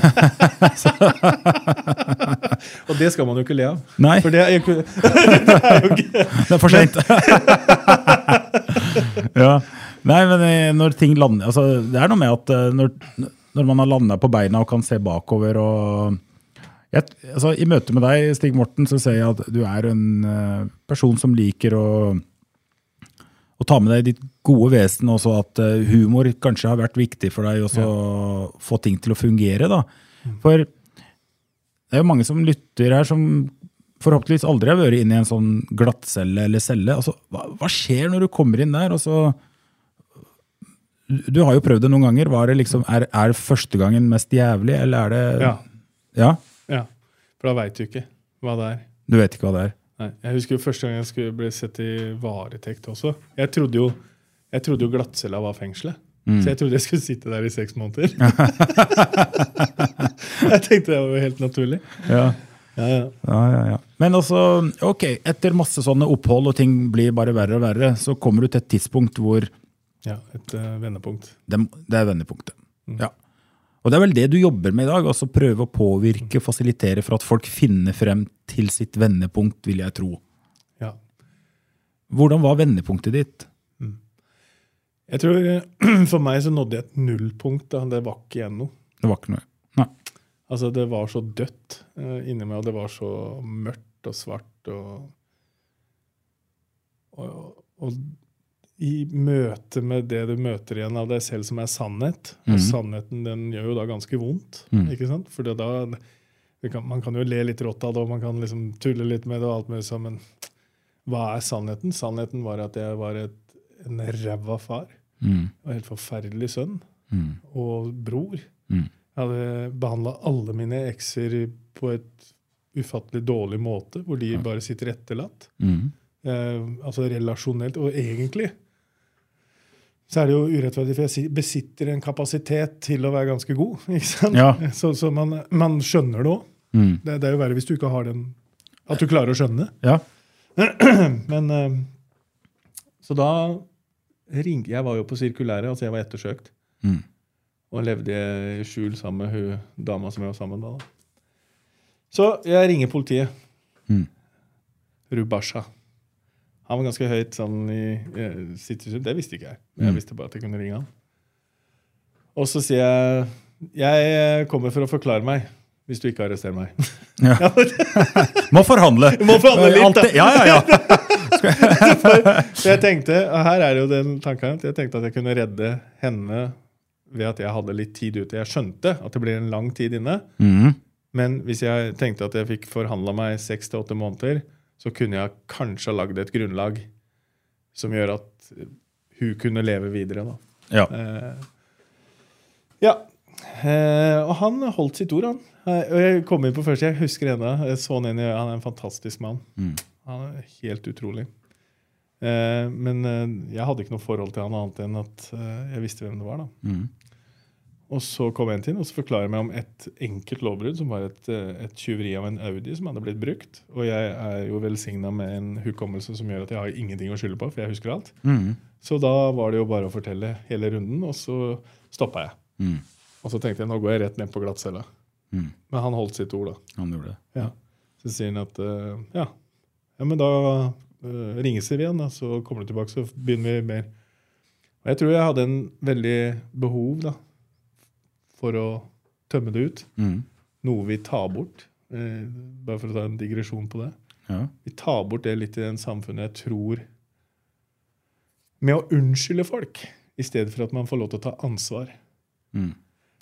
*laughs* Og det skal man jo ikke le av. Nei, For det er jo ikke... *laughs* det er for sent. *laughs* ja. Nei, men eh, når ting lander altså, Det er noe med at eh, når, når man har landa på beina og kan se bakover og jeg, altså, I møte med deg, Stig Morten, så ser jeg at du er en eh, person som liker å, å ta med deg ditt gode vesen, også at eh, humor kanskje har vært viktig for deg også å få ting til å fungere. da. For det er jo mange som lytter her som forhåpentligvis aldri har vært inne i en sånn glattcelle eller celle. Altså, hva, hva skjer når du kommer inn der? Altså, du du har jo prøvd det noen ganger. Var det liksom, er, er første gangen mest jævlig, eller er det Ja, Ja? ja. For da veit du ikke hva det er. Du vet ikke hva det er. Nei, jeg husker jo første gang jeg skulle bli sett i varetekt også. Jeg trodde jo, jeg trodde jo glattcella var fengselet. Så jeg trodde jeg skulle sitte der i seks måneder. *laughs* jeg tenkte det var jo helt naturlig. Ja. Ja, ja. Ja, ja, ja. Men altså, ok, etter masse sånne opphold og ting blir bare verre og verre, så kommer du til et tidspunkt hvor ja et eh, vendepunkt. det, det er vendepunktet. Ja. Og det er vel det du jobber med i dag, altså prøve å påvirke, fasilitere for at folk finner frem til sitt vendepunkt, vil jeg tro. Ja. Hvordan var vendepunktet ditt? Jeg tror *clears throat* eh, For meg så nådde jeg et nullpunkt. da. Det var ikke igjen noe. Det var ikke noe. Nei. Altså, det var så dødt eh, inni meg, og det var så mørkt og svart. Og, og, og i møte med det du møter igjen av deg selv som er sannhet Og sannheten den gjør jo da ganske vondt. ikke sant? For det da, det kan, Man kan jo le litt rått av det, og man kan liksom tulle litt med det, og alt mulig sånn, men hva er sannheten? Sannheten var at jeg var et, en ræva far. Mm, Og helt forferdelig sønn. Og bror. Jeg hadde behandla alle mine ekser på et ufattelig dårlig måte, hvor de bare sitter etterlatt. mm, Eh, altså relasjonelt. Og egentlig så er det jo urettferdig, for jeg si- besitter en kapasitet til å være ganske god. *laughs* ikke sant? Ja. Så, så man, man skjønner det òg. Mm. Det, det er jo verre hvis du ikke har den At du klarer å skjønne. Ja. Men eh, Så da ringte Jeg var jo på sirkulæret, altså jeg var ettersøkt. Mm. Og levde i skjul sammen med hun dama som jeg var sammen med da. da. Så jeg ringer politiet. Mm. Rubasha. Han var ganske høyt sånn i eh, sitt hus. Det visste ikke jeg. Mm. Men jeg visste bare at jeg kunne ringe han. Og så sier jeg Jeg kommer for å forklare meg, hvis du ikke arresterer *laughs* meg. Må forhandle! Må forhandle litt, da. Alltid- Ja, ja, *laughs* ja. Så jeg tenkte, og her er jo den tanken, at jeg tenkte at jeg kunne redde henne ved at jeg hadde litt tid ute. Jeg skjønte at det blir en lang tid inne, Mm. men hvis jeg tenkte at jeg fikk forhandla meg seks til åtte måneder, så kunne jeg kanskje ha lagd et grunnlag som gjør at hun kunne leve videre. da. Ja. Eh, ja. Eh, og han holdt sitt ord, han. Eh, og jeg kom inn på første, jeg husker ennå. Jeg så han inn i øya. Han er en fantastisk mann. Han er helt utrolig. Eh, men eh, jeg hadde ikke noe forhold til han annet enn at eh, jeg visste hvem det var. da. mm, Og så kom en til og så forklarer jeg meg om et enkelt lovbrudd, som var et, eh, et tyveri av en Audi som hadde blitt brukt. Og jeg er jo velsigna med en hukommelse som gjør at jeg har ingenting å skylde på, for jeg husker alt. Så da var det jo bare å fortelle hele runden, og så stoppa jeg. mm. Og så tenkte jeg nå går jeg rett ned på glattcella. Men han holdt sitt ord, da. Han gjorde det. Ja. Så sier han at eh, ja, ja men da eh, ringes vi igjen, da, så kommer du tilbake, så begynner vi mer. Og jeg tror jeg hadde en veldig behov da, for å tømme det ut. Mm. Noe vi tar bort. eh, bare for å ta en digresjon på det. Ja. Vi tar bort det litt i den samfunnet jeg tror Med å unnskylde folk i stedet for at man får lov til å ta ansvar. Mm.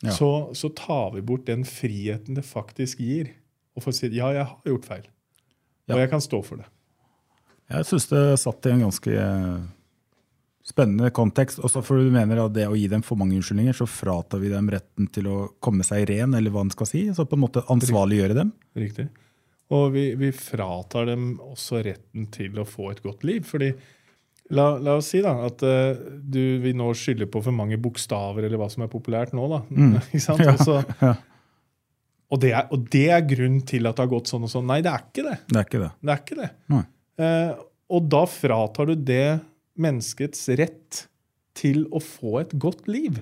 Ja. Så, så tar vi bort den friheten det faktisk gir. Å få si ja, jeg har gjort feil. Ja. Og jeg kan stå for det. Jeg syns det satt i en ganske eh, spennende kontekst. Også for du mener at det å gi dem for mange unnskyldninger, så fratar vi dem retten til å komme seg ren, eller hva en skal si. Så på en måte ansvarliggjøre dem. Riktig. Og vi, vi fratar dem også retten til å få et godt liv. Fordi la, la oss si da, at eh, du, vi nå *laughs* skylder på for mange bokstaver, eller hva som er populært nå. da. Ikke sant? Og så Og det, er, og det er grunnen til at det har gått sånn og sånn. Nei, det er ikke det. Det er ikke det. *laughs* Det er ikke det. Nei. Eh, og da fratar du det menneskets rett til å få et godt liv.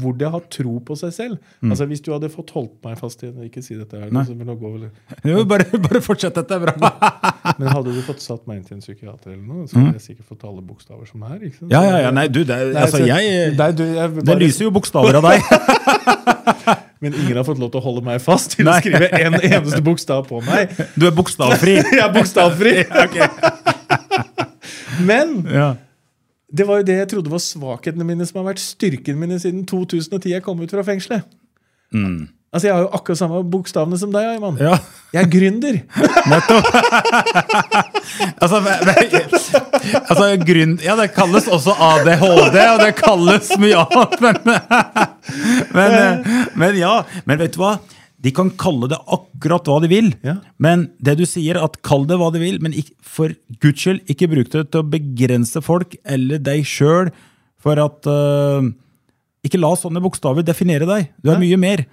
Hvor det har tro på seg selv. Altså Hvis du hadde fått holdt meg fast i Ikke si dette her. Altså, men, nå går vel, Jo, bare, bare fortsett, dette er bra. men hadde du fått satt meg inn til en psykiater, eller noe, så hadde jeg sikkert fått alle bokstaver som er. ikke *laughs* sant? Mm. Ja, ja, ja, nei, du, det, er- Nei, altså, så- jeg Nei, du, jeg Det bare- lyser jo bokstaver av deg. *laughs* Men ingen har fått lov til å holde meg fast til Nei. å skrive en eneste bokstav på meg. Du er bokstavfri. *laughs* Jeg er *laughs* bokstavfri! *laughs* Men Ja. Det var jo det jeg trodde var svakhetene mine, som har vært styrkene mine siden 2010 jeg kom ut fra fengselet. Mm. Altså, Jeg har jo akkurat samme bokstavene som deg, Ayman. ja. Jeg er gründer. *laughs* Altså, ve- ve- altså grunn, ja, det kalles også ADHD, og det kalles mye annet, men *laughs* men, eh, men ja. Men vet du hva? De kan kalle det akkurat hva de vil. Ja. Men det du sier, at kall det hva du vil, men ikk- for guds skyld, ikke bruk det til å begrense folk eller deg sjøl for at eh, Ikke la sånne bokstaver definere deg. Du er mye mer.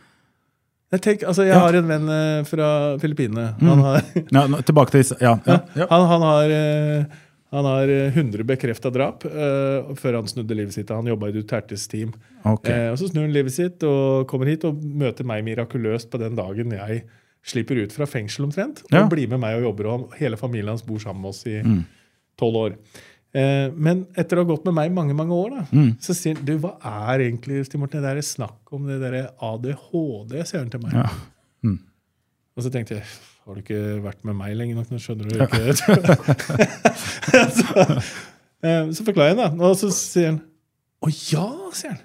Jeg tenker, altså, jeg Ja. har en venn eh, fra Filippinene. Han har, Ja, nå, tilbake til disse. Ja, ja, ja. han, han har, eh, han har eh, 100 bekrefta drap eh, før han snudde livet sitt. Han jobba i Dutertes team. Ok. Eh, og Så snur han livet sitt og kommer hit og møter meg mirakuløst på den dagen jeg slipper ut fra fengsel omtrent, og Ja. Mm. blir med meg og jobber. og han- Hele familien hans bor sammen med oss i tolv år. Eh, Men etter å ha gått med meg i mange mange år, da, Mm. så sier han du, hva er egentlig Stig Morten, det der snakk om det der ADHD, sier han til meg. Ja. Mm. Og så tenkte jeg har du ikke vært med meg lenge nok? Nå skjønner du ikke. så, eh, så forklarer jeg, da. Og så sier han å ja, sier han.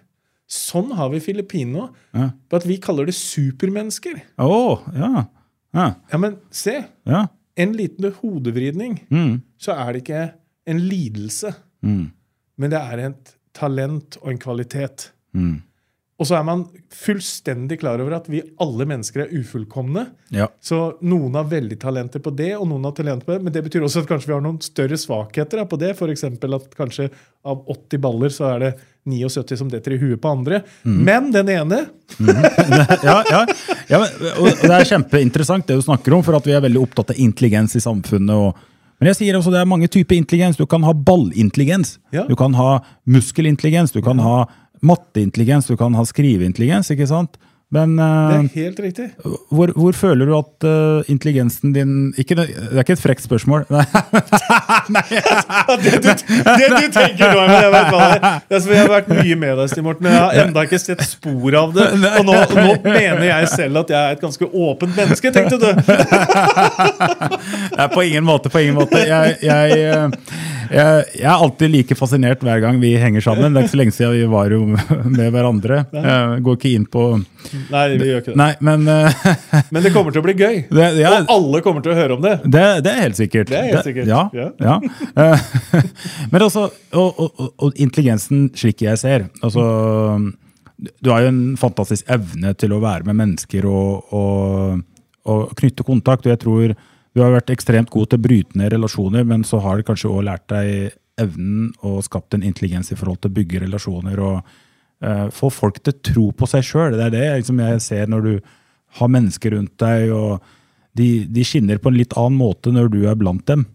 Sånn har vi Filippinene òg. Ja. Bare at vi kaller det supermennesker. Å, ja. Ja. Ja, men se. ja. En liten hodevridning, Mm. så er det ikke en lidelse. Mm. Men det er et talent og en kvalitet. Mm. Og så er man fullstendig klar over at vi alle mennesker er ufullkomne. Ja. Så noen har veldig talenter på det, og noen har talent på det. Men det betyr også at kanskje vi har noen større svakheter da, på det. F.eks. at kanskje av 80 baller så er det 79 som detter i huet på andre. Mm. Men den ene ja, ja. ja men, og og det er kjempeinteressant det du snakker om, for at vi er veldig opptatt av intelligens i samfunnet. Og, men jeg sier også det er mange typer intelligens. Du kan ha ballintelligens, Ja. du kan ha muskelintelligens, du kan ha matteintelligens, du kan ha skriveintelligens, ikke sant? Men Det eh, er helt riktig. *laughs* hvor, hvor føler du at eh, intelligensen din ikke, Det det er ikke et frekt spørsmål. *laughs* Nei, Det du, det du tenker nå, men jeg vet hva det er. Det er som jeg har vært mye med deg, Stig Morten, men jeg har enda ikke sett spor av det. *laughs* Og nå, nå mener jeg selv at jeg er et ganske åpent menneske, tenkte du. Nei, på ingen måte. på ingen måte. Jeg, jeg, eh, jeg, jeg er alltid like fascinert hver gang vi henger sammen. Det er ikke så lenge siden vi var jo *laughs* med hverandre. Jeg går ikke inn på Nei, vi gjør ikke det. Nei, men eh, *laughs* Men det kommer til å bli gøy. det, ja, Og alle kommer til å høre om det. det, det er helt sikkert. Det er helt sikkert, ja, ja. ja. Eh, *laughs* Men altså, og, og- og, og intelligensen slik jeg ser altså, Du har jo en fantastisk evne til å være med mennesker og, og, og knytte kontakt. Og jeg tror du har vært ekstremt god til å bryte ned relasjoner, men så har du kanskje også lært deg evnen og skapt en intelligens i forhold til å bygge relasjoner og eh, få folk til å tro på seg sjøl. Det er det jeg- liksom, jeg ser når du har mennesker rundt deg. og de, de skinner på en litt annen måte når du er blant dem.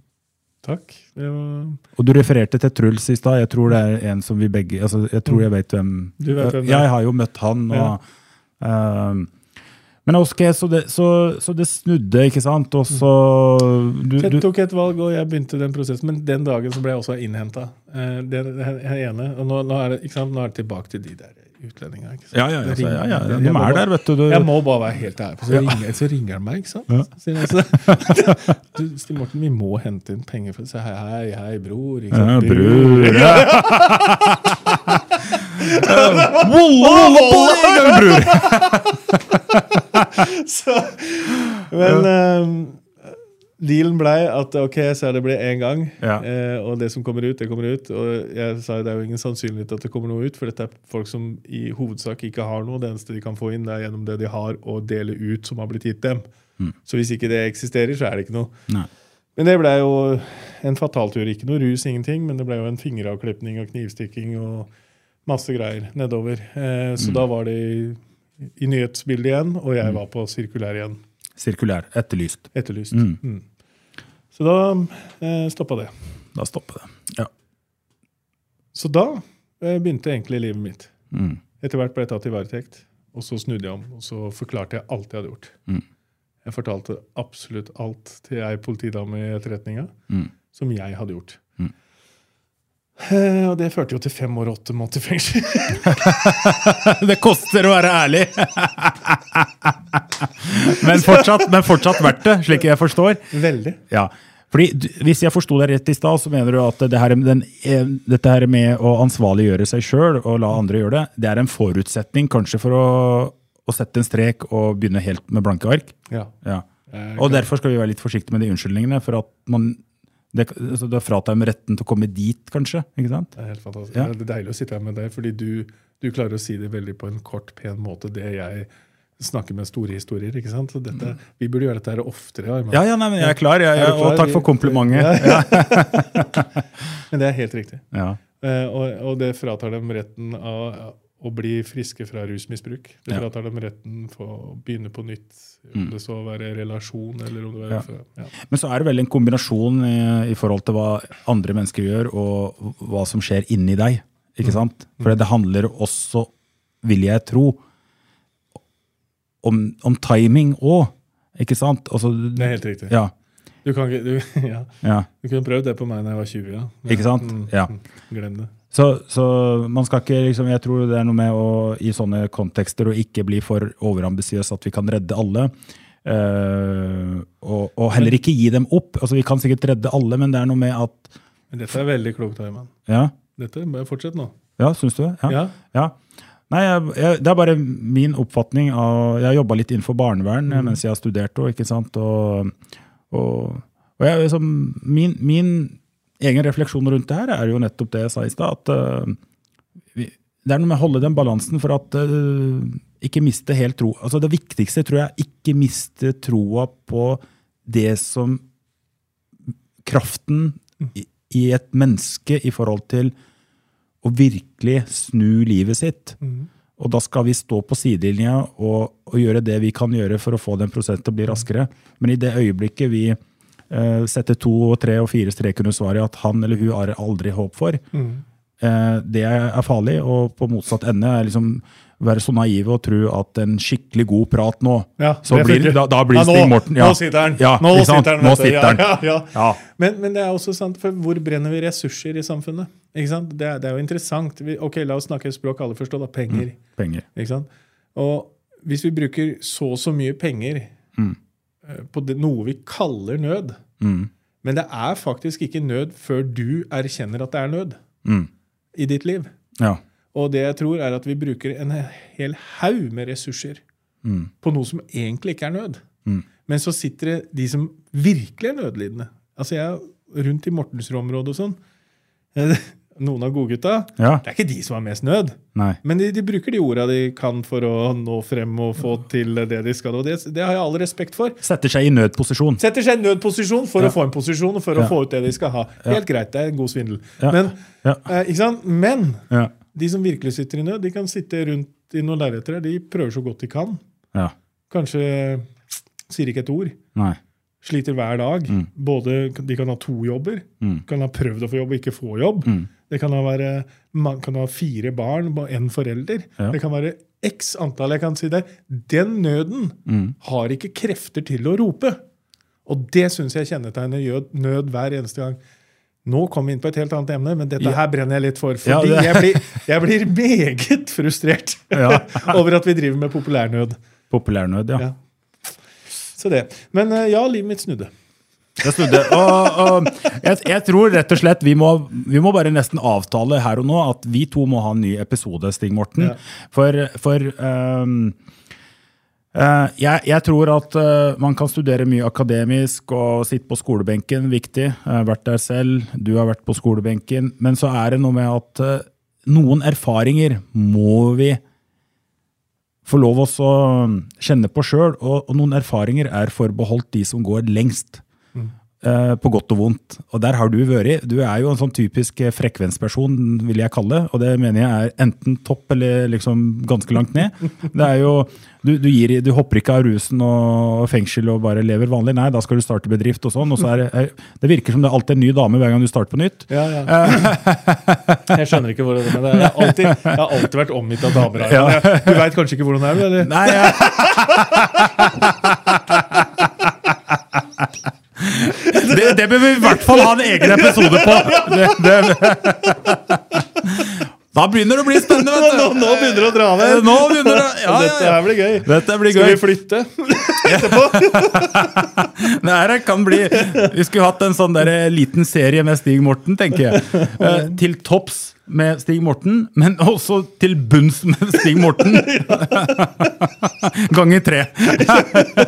Takk. Det var- Og du refererte til Truls i stad. Jeg tror det er en som vi begge altså Jeg tror jeg vet hvem Du vet hvem det er. Ja, Jeg har jo møtt han. Og, ehm, men ok, så det, så, så det snudde, ikke sant? Og så du, Jeg du, tok et valg, og jeg begynte den prosessen. Men den dagen så ble jeg også innhenta. Det er jeg ene. Og nå, nå, er det, ikke sant? nå er det tilbake til de der utlendingene. ikke sant? Ja, ja, ja, Det så- ja, ja, ringer- de jeg må er bare- der, vet du, du- Jeg må bare være helt ærlig. Så, ringer, så ringer han meg, ikke sant. Så sier han så, *laughs* du, Stig Morten, vi må hente inn penger for det. Så hei, hei, hei, bror. Ikke Ja, sant? bror. *laughs* Wolle, wolle, wolle, i gang, bror. Så, men eh, dealen blei at ok, så er det ble én gang. Ja. eh, og det som kommer ut, det kommer ut. Og jeg sa det er jo ingen sannsynlighet at det kommer noe ut, for dette er folk som i hovedsak ikke har noe. Det eneste de kan få inn, det er gjennom det de har, og dele ut som har blitt gitt dem. Så hvis ikke det eksisterer, så er det ikke noe. Mm. Nei. Men det blei jo en fataltur. Ikke noe rus, ingenting, men det blei jo en Mm. fingeravklipping og knivstikking og masse greier nedover. Eh, så da var det i i nyhetsbildet igjen, og jeg var på sirkulær igjen. Sirkulær. Etterlyst. Etterlyst. Mm. Så da eh, stoppa det. Da stopper det. Ja. Så da eh, begynte egentlig livet mitt. Mm, Etter hvert ble jeg tatt i varetekt, og så snudde jeg om og så forklarte jeg alt jeg hadde gjort. Jeg fortalte absolutt alt til ei politidame i etterretninga mm. som jeg hadde gjort. Eh, og det førte jo til fem år og åtte måneder i fengsel. *laughs* Det koster å være ærlig! *laughs* men, fortsatt, men fortsatt verdt det, slik jeg forstår. Veldig. Ja. Fordi, du- hvis jeg forsto deg rett i stad, så mener du at det her, den, eh, dette her med å ansvarliggjøre seg sjøl og la andre gjøre det, det er en forutsetning kanskje for å, å sette en strek og begynne helt med blanke ark? Ja. Ja. Og derfor skal vi være litt forsiktige med de unnskyldningene. For at man det, altså, det fratar dem retten til å komme dit, kanskje. ikke sant? Det er helt fantastisk. Ja. Det er deilig å sitte her med deg, fordi du, du klarer å si det veldig på en kort, pen måte. Det jeg snakker med store historier. ikke sant? Så dette, vi burde gjøre dette her oftere. Arman. Mm. Ja, ja, nei, men jeg er klar. Jeg, Er jeg, du klar? og takk for Vi- komplimentet. *laughs* Men det er helt riktig. Ja. Eh, og, og det fratar dem retten av å bli friske fra rusmisbruk. Det Ja. Mm. fratar dem retten for å begynne på nytt, om det så være relasjon eller om det Ja. være fra- ja. Men så er det vel en kombinasjon i, i forhold til hva andre mennesker gjør, og hva som skjer inni deg. ikke Mm. sant? For det handler også, vil jeg tro, om, om timing òg. Ikke sant? Altså, Det er helt riktig. ja, Du kan ikke du, *laughs* ja. ja, du kunne prøvd det på meg da jeg var 20. Ja. Ja. ikke sant? Mm. Ja. Glem det. Så, så man skal ikke liksom, Jeg tror det er noe med å i sånne kontekster å ikke bli for overambisiøs at vi kan redde alle. Eh, og, og heller ikke gi dem opp. Altså, vi kan sikkert redde alle, men det er noe med at Men dette er veldig klokt, Herman. Ja, Dette bare fortsett nå. ja syns du det? Ja. Ja. Ja. Nei, jeg, jeg, Det er bare min oppfatning av Jeg har jobba litt innenfor barnevern eh, mens jeg har studert òg, ikke sant. Og, og, og jeg, liksom, min, min egen refleksjon rundt det her er jo nettopp det jeg sa i stad. At eh, vi, det er noe med å holde den balansen for at eh, ikke miste helt tro Altså Det viktigste tror jeg er ikke miste troa på det som Kraften i, i et menneske i forhold til å virkelig snu livet sitt. Mm. Og da skal vi stå på sidelinja og, og gjøre det vi kan gjøre for å få den prosessen til å Mm. bli raskere. Men i det øyeblikket vi eh, setter to, og tre og fire streker under svaret at han eller hun har aldri håp for, Mm. eh, det er farlig. Og på motsatt ende er liksom være så naive og tro at en skikkelig god prat nå Ja, så det blir, funker. da, da blir Ja, nå- Stig Morten Nå sitter han! Ja, nå ikke sant? sitter han, Nå vet du. sitter han. Ja, ja, ja. Ja. Men, men det er også sant, for hvor brenner vi ressurser i samfunnet? Ikke sant? Det, er, det er jo interessant. Vi, ok, La oss snakke et språk alle forstår, da. Penger. Penger. Ikke sant? Og hvis vi bruker så og så mye penger Mm. eh, på det, noe vi kaller nød Men det er faktisk ikke nød før du erkjenner at det er nød Mm. i ditt liv. Ja. Og det jeg tror, er at vi bruker en hel haug med ressurser Mm. på noe som egentlig ikke er nød. Men så sitter det de som virkelig er nødlidende. Altså jeg er rundt i Mortensrud-området og sånn. *laughs* Noen av godgutta. Ja. Det er ikke de som har mest nød. Nei. Men de, de bruker de orda de kan for å nå frem og få til det de skal. Og det, det har jeg all respekt for. Setter seg i nødposisjon. Setter seg i en nødposisjon for Ja. å få en posisjon og for Ja. å få ut det de skal ha. Helt greit, det er en god svindel. Ja. Men, Ja. eh, ikke sant? Men Ja. de som virkelig sitter i nød, de kan sitte rundt i noen lerreter. De prøver så godt de kan. Ja. Kanskje sier ikke et ord. Nei. Sliter hver dag. Mm. Både, de kan ha to jobber. Kan ha prøvd å få jobb og ikke få jobb. Mm. Det kan ha, være, man kan ha fire barn og én forelder. Ja. Det kan være x antall jeg kan si der. Den nøden Mm. har ikke krefter til å rope. Og det syns jeg kjennetegner jød- nød hver eneste gang. Nå kommer vi inn på et helt annet emne, men dette Ja. her brenner jeg litt for. Ja, Fordi det- jeg, blir, jeg blir meget frustrert *laughs* over at vi driver med populærnød. Populærnød, ja. Ja. Så det. Men eh, ja, livet mitt snudde. Jeg snudde. Og, og jeg, jeg tror rett og slett vi må, vi må bare nesten avtale her og nå at vi to må ha en ny episode, Stig Morten. Ja. For, for ehm, eh, jeg, jeg tror at eh, man kan studere mye akademisk og sitte på skolebenken, viktig. Jeg har vært der selv, du har vært på skolebenken. Men så er det noe med at eh, noen erfaringer må vi få lov oss å mm, Mm. kjenne på sjøl, og, og noen erfaringer er forbeholdt de som går lengst. eh, på godt og vondt. Og der har du vært. Du er jo en sånn typisk eh, frekvensperson, vil jeg kalle det. Og det mener jeg er enten topp eller liksom ganske langt ned. Det er jo, du, du, gir, i- du hopper ikke av rusen og fengsel og bare lever vanlig. Nei, da skal du starte bedrift og sånn. Og så er, det- er, det virker som det er alltid en ny dame hver gang du starter på nytt. Eh, Ja, ja. Jeg skjønner ikke hvordan det er. men det er- Jeg har alltid, jeg har alltid vært omgitt av damer. her. Ja. Jeg- Du veit kanskje ikke hvordan det er, du, eller? Nei, jeg, det, det bør vi i hvert fall ha en egen episode *laughs* på. Det, det. Da begynner det å bli spennende, vet Nå, du. nå begynner det å dra Eh, ned. Nå begynner det, ja, Dette ja, her ja. blir gøy. Dette blir Skal gøy. vi flytte? Det her kan bli Vi skulle hatt en sånn der liten serie med Stig Morten, tenker jeg. Eh, til topps med Stig Morten, men også til bunns med Stig Morten. Ganger tre.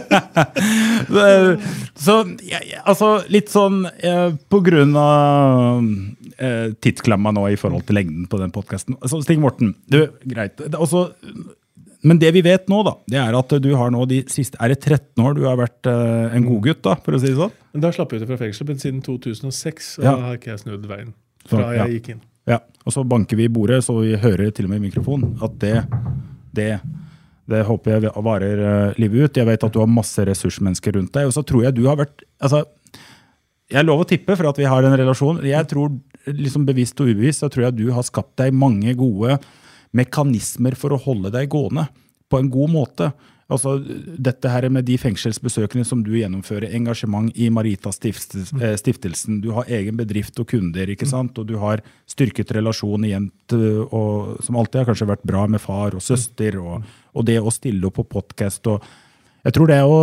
*laughs* Det- Så jeg- jeg- altså, litt sånn eh, på grunn av eh, tidsklemma nå i forhold til lengden på den podkasten. Altså, Stig Morten, du, greit. Det er også men det vi vet nå, da, det er at du har nå de siste Er det 13 år du har vært eh, en godgutt, da, for å si det sånn? Men Da slapp jeg ut fra fengselet, men siden 2006 så Ja. har ikke jeg snudd veien. Så, Fra ja. jeg gikk inn. Ja. Og så banker vi i bordet, så vi hører til og med i mikrofonen at det det, det håper jeg varer eh, livet ut. Jeg vet at du har masse ressursmennesker rundt deg. Og så tror jeg du har vært altså, Jeg er lov å tippe for at vi har en relasjon. Jeg tror, liksom Bevisst og ubevisst så tror jeg du har skapt deg mange gode mekanismer for å holde deg gående på en god måte. Altså, dette her med de fengselsbesøkene som du gjennomfører, engasjement i Marita stift, eh, stiftelsen, du har egen bedrift og kunder, ikke sant? og du har styrket relasjon igjen, til, og, som alltid har kanskje vært bra med far og søster, og, og det å stille opp på podkast. Jeg tror det er å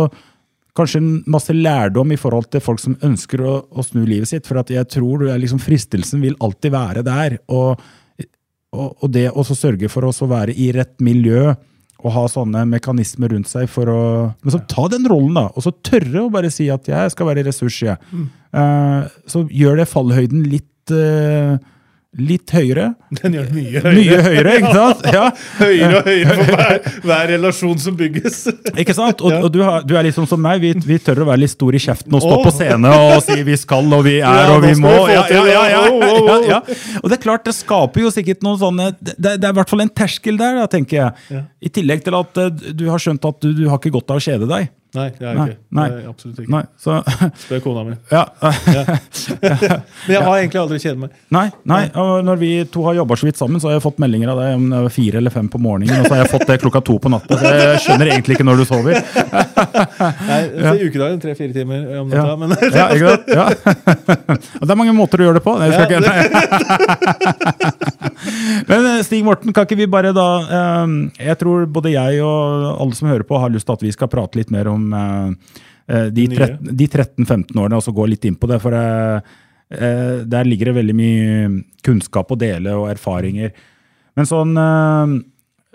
kanskje en masse lærdom i forhold til folk som ønsker å, å snu livet sitt. For at jeg tror du er liksom, fristelsen vil alltid være der. Og, og, og det å så sørge for å så være i rett miljø og ha sånne mekanismer rundt seg for å Men så ta den rollen, da. Og så tørre å bare si at jeg skal være ressurs, jeg. Eh, så gjør det fallhøyden litt eh, Litt høyere. Den gjør det mye Mye høyere. høyere, *laughs* ikke sant? *laughs* Ja. Høyere og høyere for hver, *laughs* hver relasjon som bygges. Ikke sant? Og, og du, har, du er litt sånn som meg. Vi, vi tør å være litt stor i kjeften og stå Åh. på scene og si vi skal og vi er *laughs* Ja, og nå vi skal må. vi Ja, få ja, til det. ja, ja, Åh, åh, ja, åh. ja. Og det er klart, det skaper jo sikkert noen sånne Det, det er i hvert fall en terskel der, da, tenker jeg. I tillegg til at eh, du har skjønt at du, du har ikke godt av å kjede deg. Nei, det er Nei, ikke. nei. Det er absolutt ikke. Nei, så, *laughs* Spør kona mi. ja. Men jeg har egentlig aldri kjedet meg. Nei, nei, og når vi to har jobba så vidt sammen, så har jeg fått meldinger av deg om det var fire eller fem på morgenen, og så har jeg fått det klokka to på natta. Så jeg skjønner egentlig ikke når du sover. Nei, altså, Ukedagen tre-fire timer eh, om natta. Ja. Men *laughs* Ja, ikke sant? Ja. *laughs* Og det er mange måter å gjøre det på. Nei, jeg skal ikke, Men eh, Stig Morten, kan ikke vi bare da eh, Jeg tror både jeg og alle som hører på, har lyst til at vi skal prate litt mer om eh, eh, de Nye. 13 de 13-15 årene, og så gå litt inn på det. For eh, eh, der ligger det veldig mye kunnskap å dele, og erfaringer. Men sånn eh,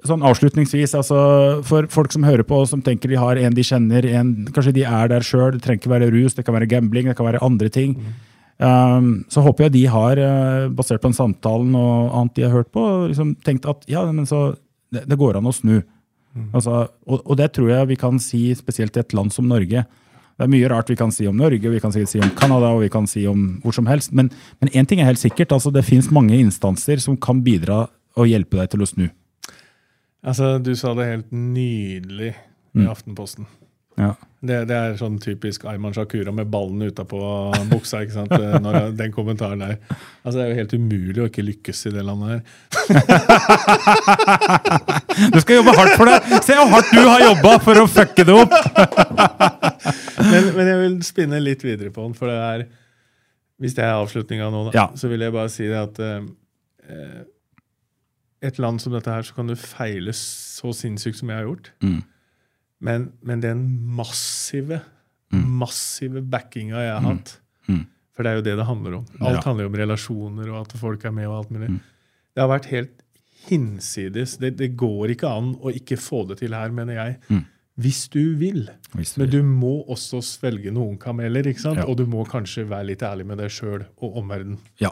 Sånn avslutningsvis, altså for folk som hører på og som tenker de har en de kjenner, en, kanskje de er der sjøl, det trenger ikke være rus, det kan være gambling, det kan være andre ting. Um, så håper jeg de har, eh, basert på den samtalen og annet de har hørt på, liksom tenkt at ja, men så, det, det går an å snu. Altså, og, og det tror jeg vi kan si spesielt i et land som Norge. Det er mye rart vi kan si om Norge, vi kan si, si om Canada og vi kan si om hvor som helst. Men men én ting er helt sikkert, altså det fins mange instanser som kan bidra og hjelpe deg til å snu. Altså, Du sa det helt nydelig Mm. i Aftenposten. Ja. Det, det er sånn typisk Ayman Shakura med ballen utapå buksa. ikke sant? Eh, Når den kommentaren der. Altså, Det er jo helt umulig å ikke lykkes i det landet her. Du skal jobbe hardt for det! Se hvor hardt du har jobba for å fucke det opp! Men, men jeg vil spinne litt videre på den, for det er Hvis det er avslutninga nå, da, Ja. så vil jeg bare si det at eh, eh, Et land som dette her, så kan du feile så sinnssykt som jeg har gjort. Mm. Men, men den massive, massive backinga jeg har hatt Mm. For det er jo det det handler om. Alt Ja. Mm. handler jo om relasjoner og at folk er med. og alt mulig. Det har vært helt hinsides. Det, det går ikke an å ikke få det til her, mener jeg. Hvis du vil. Mm. Hvis du Men vil. du må også svelge noen kameler, ikke sant? Ja. og du må kanskje være litt ærlig med deg sjøl og omverdenen. Ja,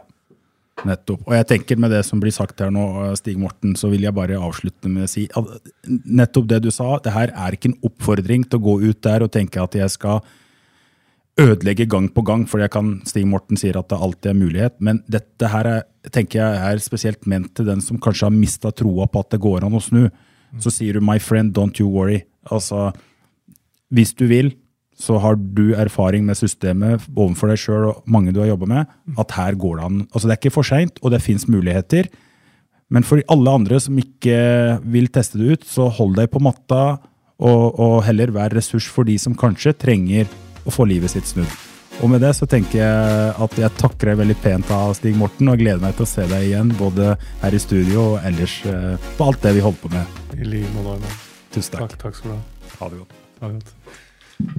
nettopp. Og jeg tenker med det som blir sagt her nå, eh, Stig Morten, så vil jeg bare avslutte med å si at nettopp det du sa, det her er ikke en oppfordring til å gå ut der og tenke at jeg skal ødelegge gang på gang, fordi jeg kan, Stig Morten sier at det alltid er mulighet, men dette her er, tenker jeg er spesielt ment til den som kanskje har mista troa på at det går an å snu. Så sier du 'my friend, don't you worry'. Altså, hvis du vil, så har du erfaring med systemet overfor deg sjøl og mange du har jobba med, at her går det an. Altså, det er ikke for seint, og det fins muligheter. Men for alle andre som ikke vil teste det ut, så hold deg på matta, og, og heller vær ressurs for de som kanskje trenger å få livet sitt snudd. Og med det så tenker jeg at jeg takker deg veldig pent av Stig Morten, og gleder meg til å se deg igjen både her i studio og ellers eh, på alt det vi holder på med. I like måte. Arne. Tusen takk. Takk, takk skal du ha. Ha det godt. Ha det godt.